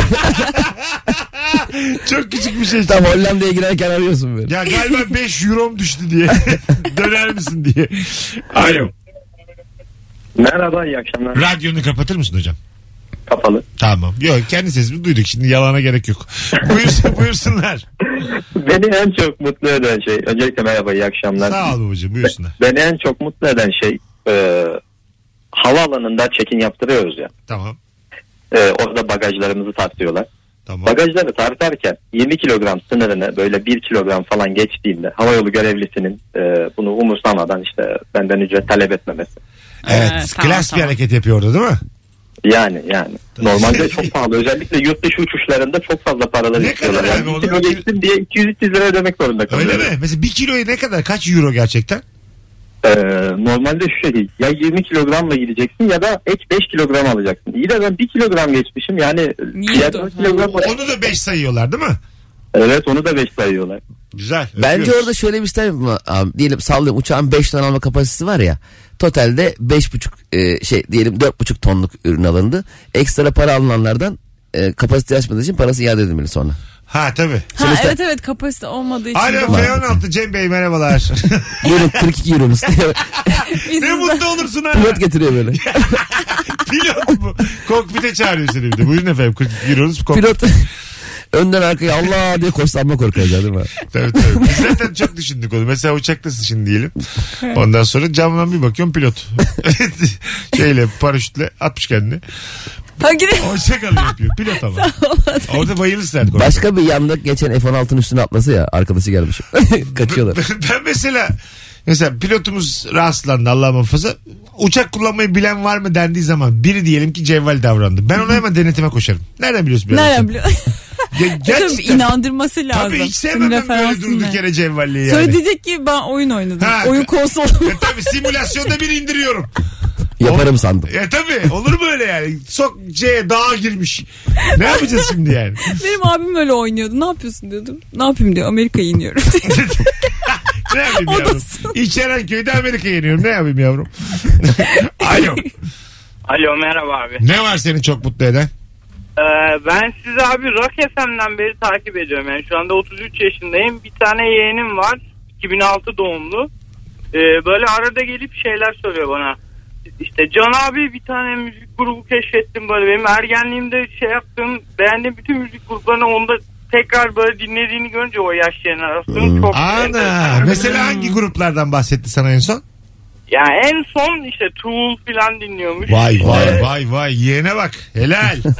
C: Çok küçük bir şey.
D: Tam Hollanda'ya girerken arıyorsun böyle.
C: Ya galiba 5 euro'm düştü diye. Döner misin diye. Alo.
Q: Merhaba iyi akşamlar.
C: Radyonu kapatır mısın hocam?
Q: Kapalı.
C: Tamam. Yok kendi sesimi duyduk. Şimdi yalana gerek yok. Buyursun, buyursunlar.
Q: Beni en çok mutlu eden şey öncelikle merhaba iyi akşamlar.
C: Sağ ol babacığım buyursunlar.
Q: Beni en çok mutlu eden şey e, havaalanında check-in yaptırıyoruz ya.
C: Tamam.
Q: E, orada bagajlarımızı tartıyorlar. Bagajları tartarken 20 kilogram sınırını böyle 1 kilogram falan geçtiğinde havayolu görevlisinin e, bunu umursamadan işte benden ücret talep etmemesi.
C: Evet. klas bir hareket yapıyor orada değil mi?
Q: Yani yani. Normalde çok pahalı. Özellikle yurt dışı uçuşlarında çok fazla paraları istiyorlar. Yani bir kilo geçtim diye 200-300 lira ödemek zorunda
C: Öyle
Q: kalıyorum.
C: mi? Mesela bir kiloya ne kadar? Kaç euro gerçekten?
Q: Ee, normalde şu şekilde ya 20 kilogramla gideceksin ya da ek 5 kilogram alacaksın. İyi de ben 1 kilogram geçmişim yani. diğer dört kilogram-
C: Onu da 5 sayıyorlar değil mi?
Q: Evet onu da 5 sayıyorlar.
C: Güzel.
D: Bence orada şöyle bir şey mi? Abi, diyelim sallıyorum uçağın 5 ton alma kapasitesi var ya. Totalde 5,5 e, şey diyelim 4,5 tonluk ürün alındı. Ekstra para alınanlardan e, kapasite açmadığı için parası iade edilmeli sonra.
C: Ha tabii.
E: Ha evet evet kapasite olmadığı için.
C: Alo
E: doğru.
C: F16 Cem Bey merhabalar.
D: Buyurun 42 euromuz.
C: ne mutlu olursun ha.
D: Pilot getiriyor böyle.
C: Pilot mu? Kokpite çağırıyor seni bir de. Buyurun efendim 42 euronuz. Kokpite.
D: Pilot önden arkaya Allah diye koşlanma korkacak değil mi?
C: Tabii tabii. Biz zaten çok düşündük onu. Mesela uçaktasın şimdi diyelim. Ondan sonra camdan bir bakıyorum pilot. Şeyle paraşütle atmış kendini.
E: Ha gidelim.
C: Hoşçakal yapıyor. Pilot ama. Orada bayılırsın artık. orada.
D: Başka bir yanda geçen F-16'nın üstüne atlasa ya arkadaşı gelmiş. Kaçıyorlar.
C: ben mesela mesela pilotumuz rahatsızlandı Allah muhafaza. Uçak kullanmayı bilen var mı dendiği zaman biri diyelim ki cevval davrandı. Ben ona hemen denetime koşarım. Nereden biliyorsun? biraz?
E: Nereden biliyorsun?
C: Ya
E: Tabii
C: gerçekten.
E: inandırması lazım.
C: Tabii hiç
E: Senin
C: sevmem ben böyle
E: referansın ne?
C: durduk yere cevvalliği yani.
E: Sonra diyecek ki ben oyun oynadım.
C: Ha.
E: oyun konsolu.
C: E tabii simülasyonda bir indiriyorum.
D: Yaparım sandım.
C: E tabii olur mu öyle yani? Sok C dağa girmiş. Ne yapacağız şimdi yani?
E: Benim abim öyle oynuyordu. Ne yapıyorsun diyordum. Ne yapayım diyor. Amerika'ya iniyorum.
C: Ne yapayım
E: O da
C: yavrum? İçeren köyde Amerika'ya yeniyorum. Ne yapayım yavrum? Alo.
R: Alo merhaba abi.
C: Ne var seni çok mutlu eden?
R: Ee, ben sizi abi Rock FM'den beri takip ediyorum. Yani şu anda 33 yaşındayım. Bir tane yeğenim var. 2006 doğumlu. Ee, böyle arada gelip şeyler söylüyor bana. İşte Can abi bir tane müzik grubu keşfettim böyle. Benim ergenliğimde şey yaptım. Beğendiğim bütün müzik gruplarını onda tekrar böyle dinlediğini görünce o yaş jenerasyonu çok
C: Hmm. Ana.
R: enteresan.
C: Mesela hangi gruplardan bahsetti sana en son?
R: Yani en son işte Tool filan dinliyormuş.
C: Vay vay
R: Ee,
C: vay vay. Yeğene bak. Helal.
R: evet,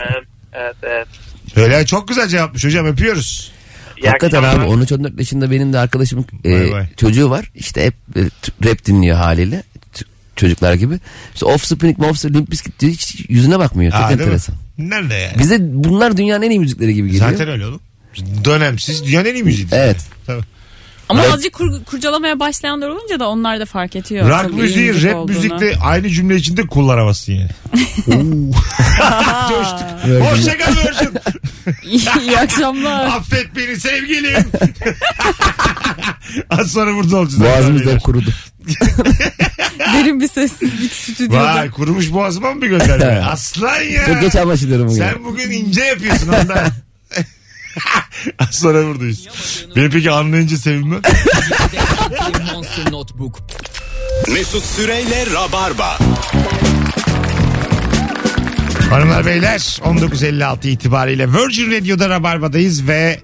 R: evet, evet.
C: Öyle çok güzel cevapmış hocam. Öpüyoruz.
D: Hakikaten abi 13-14 yaşında benim de arkadaşımın e, çocuğu var. İşte hep e, t- rap dinliyor haliyle. T- çocuklar gibi. İşte Offspring, Mofspring, Limp Bizkit diyor. Hiç yüzüne bakmıyor. Çok
C: Aa, değil mi?
D: enteresan.
C: Nerede yani?
D: Bize bunlar dünyanın en iyi müzikleri gibi geliyor.
C: Zaten öyle oğlum. Dönemsiz. Dünyanın en iyi müziği.
D: Evet.
C: Tabii.
E: Ama
C: Rap-
E: azıcık kur- kurcalamaya başlayanlar olunca da onlar da fark ediyor.
C: Rock
E: Tabii iyi
C: müziği,
E: müzik
C: rap
E: olduğunu.
C: müzikle aynı cümle içinde kullanamazsın yani. Coştuk. Hoşçakal Virgin.
E: İyi akşamlar.
C: Affet beni sevgilim. Az sonra burada olacağız.
D: Boğazımız da hep kurudu.
E: Derin bir sessizlik stüdyoda.
C: Vay kurumuş boğazıma mı bir gönderme? Aslan ya.
D: Çok geç anlaşılıyorum bugün.
C: Sen bugün ince yapıyorsun ondan. Az sonra buradayız. Beni peki anlayınca sevinme.
B: Mesut Süreyle Rabarba.
C: Hanımlar beyler 19.56 itibariyle Virgin Radio'da Rabarba'dayız ve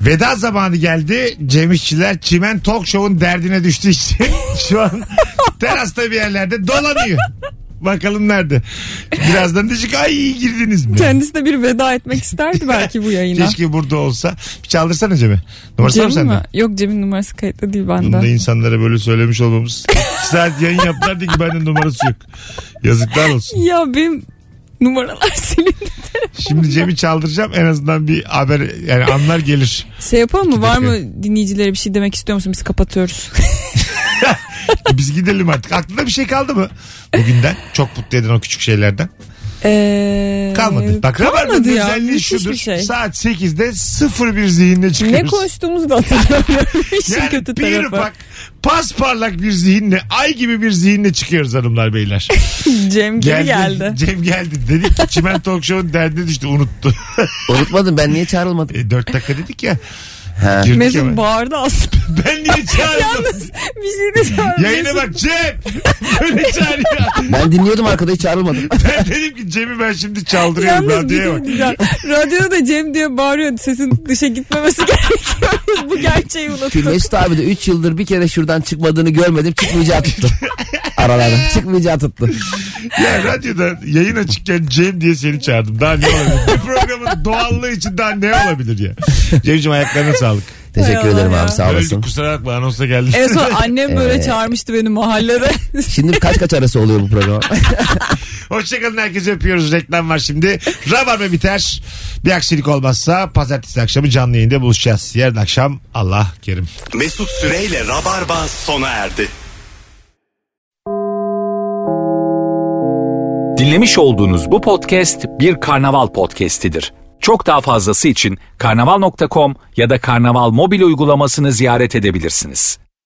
C: veda zamanı geldi. Cem İşçiler Çimen Talk Show'un derdine düştü işte. Şu an terasta bir yerlerde dolanıyor. Bakalım nerede. Birazdan diyecek ay iyi girdiniz mi?
E: Kendisi de bir veda etmek isterdi belki bu yayına.
C: Keşke burada olsa. Bir çaldırsana Cem'e. Numarası var mı
E: Cem'in
C: sende?
E: mi? Yok Cem'in numarası kayıtlı değil
C: Bunu da
E: bende.
C: insanlara böyle söylemiş olmamız. İki saat yayın yaptılar diye ki benden numarası yok. Yazıklar olsun.
E: Ya benim numaralar silindi.
C: Şimdi Cem'i çaldıracağım en azından bir haber yani anlar gelir.
E: Şey yapalım mı?
C: İki
E: Var
C: dakika.
E: mı dinleyicilere bir şey demek istiyor musun? Biz kapatıyoruz.
C: E Biz gidelim artık. Aklında bir şey kaldı mı? Bugünden çok mutlu eden o küçük şeylerden.
E: Ee,
C: Kalmadı. Bak Rabarba'nın
E: kalmadı ya.
C: özelliği
E: Müthiş bir
C: şudur.
E: şey.
C: Saat 8'de sıfır bir zihinle çıkıyoruz.
E: Ne konuştuğumuzu da hatırlamıyorum. İşin
C: Yani
E: kötü
C: bir
E: tarafı.
C: ufak pasparlak bir zihinle, ay gibi bir zihinle çıkıyoruz hanımlar beyler.
E: Cem gibi geldi.
C: Cem geldi. Dedik ki Çimen Talk Show'un derdine düştü unuttu.
D: Unutmadım ben niye çağrılmadım?
C: E, 4 dakika dedik ya.
D: Ha.
C: Girdik hemen.
E: Mesut bağırdı aslında.
C: Ben niye çağırdım?
E: Yalnız bir şey de çağırdı.
C: Yayına bak Cem. Böyle çağırıyor.
D: Ben dinliyordum arkada hiç çağrılmadım.
C: Ben dedim ki Cem'i ben şimdi çaldırıyorum.
E: Yalnız bir
C: radyoya
E: şey
C: bak.
E: diyeceğim. Radyoda Cem diye bağırıyor. Sesin dışa gitmemesi gerekiyor. Biz bu gerçeği
D: Şu
E: unuttuk.
D: Mesut abi de 3 yıldır bir kere şuradan çıkmadığını görmedim. Çıkmayacağı tuttu. Aralara çıkmayacağı tuttu.
C: Ya radyoda yayın açıkken Cem diye seni çağırdım. Daha ne olabilir? Bu programın doğallığı için daha ne olabilir ya? Cem'ciğim ayaklarına sağlık.
D: Teşekkür
E: Hay Allah
D: ederim
E: ya.
D: abi sağ olasın.
C: Öldük kusura bakma anonsa geldim.
E: En
C: Ee.
E: son annem böyle çağırmıştı beni mahallede.
D: Şimdi kaç kaç arası oluyor bu program?
C: Hoşçakalın herkese öpüyoruz. Reklam var şimdi. Rabarba biter. Bir aksilik olmazsa pazartesi akşamı canlı yayında buluşacağız. Yarın akşam Allah kerim.
B: Mesut Süreyle Rabarba sona erdi.
A: Dinlemiş olduğunuz bu podcast bir karnaval podcastidir. Çok daha fazlası için karnaval.com ya da karnaval mobil uygulamasını ziyaret edebilirsiniz.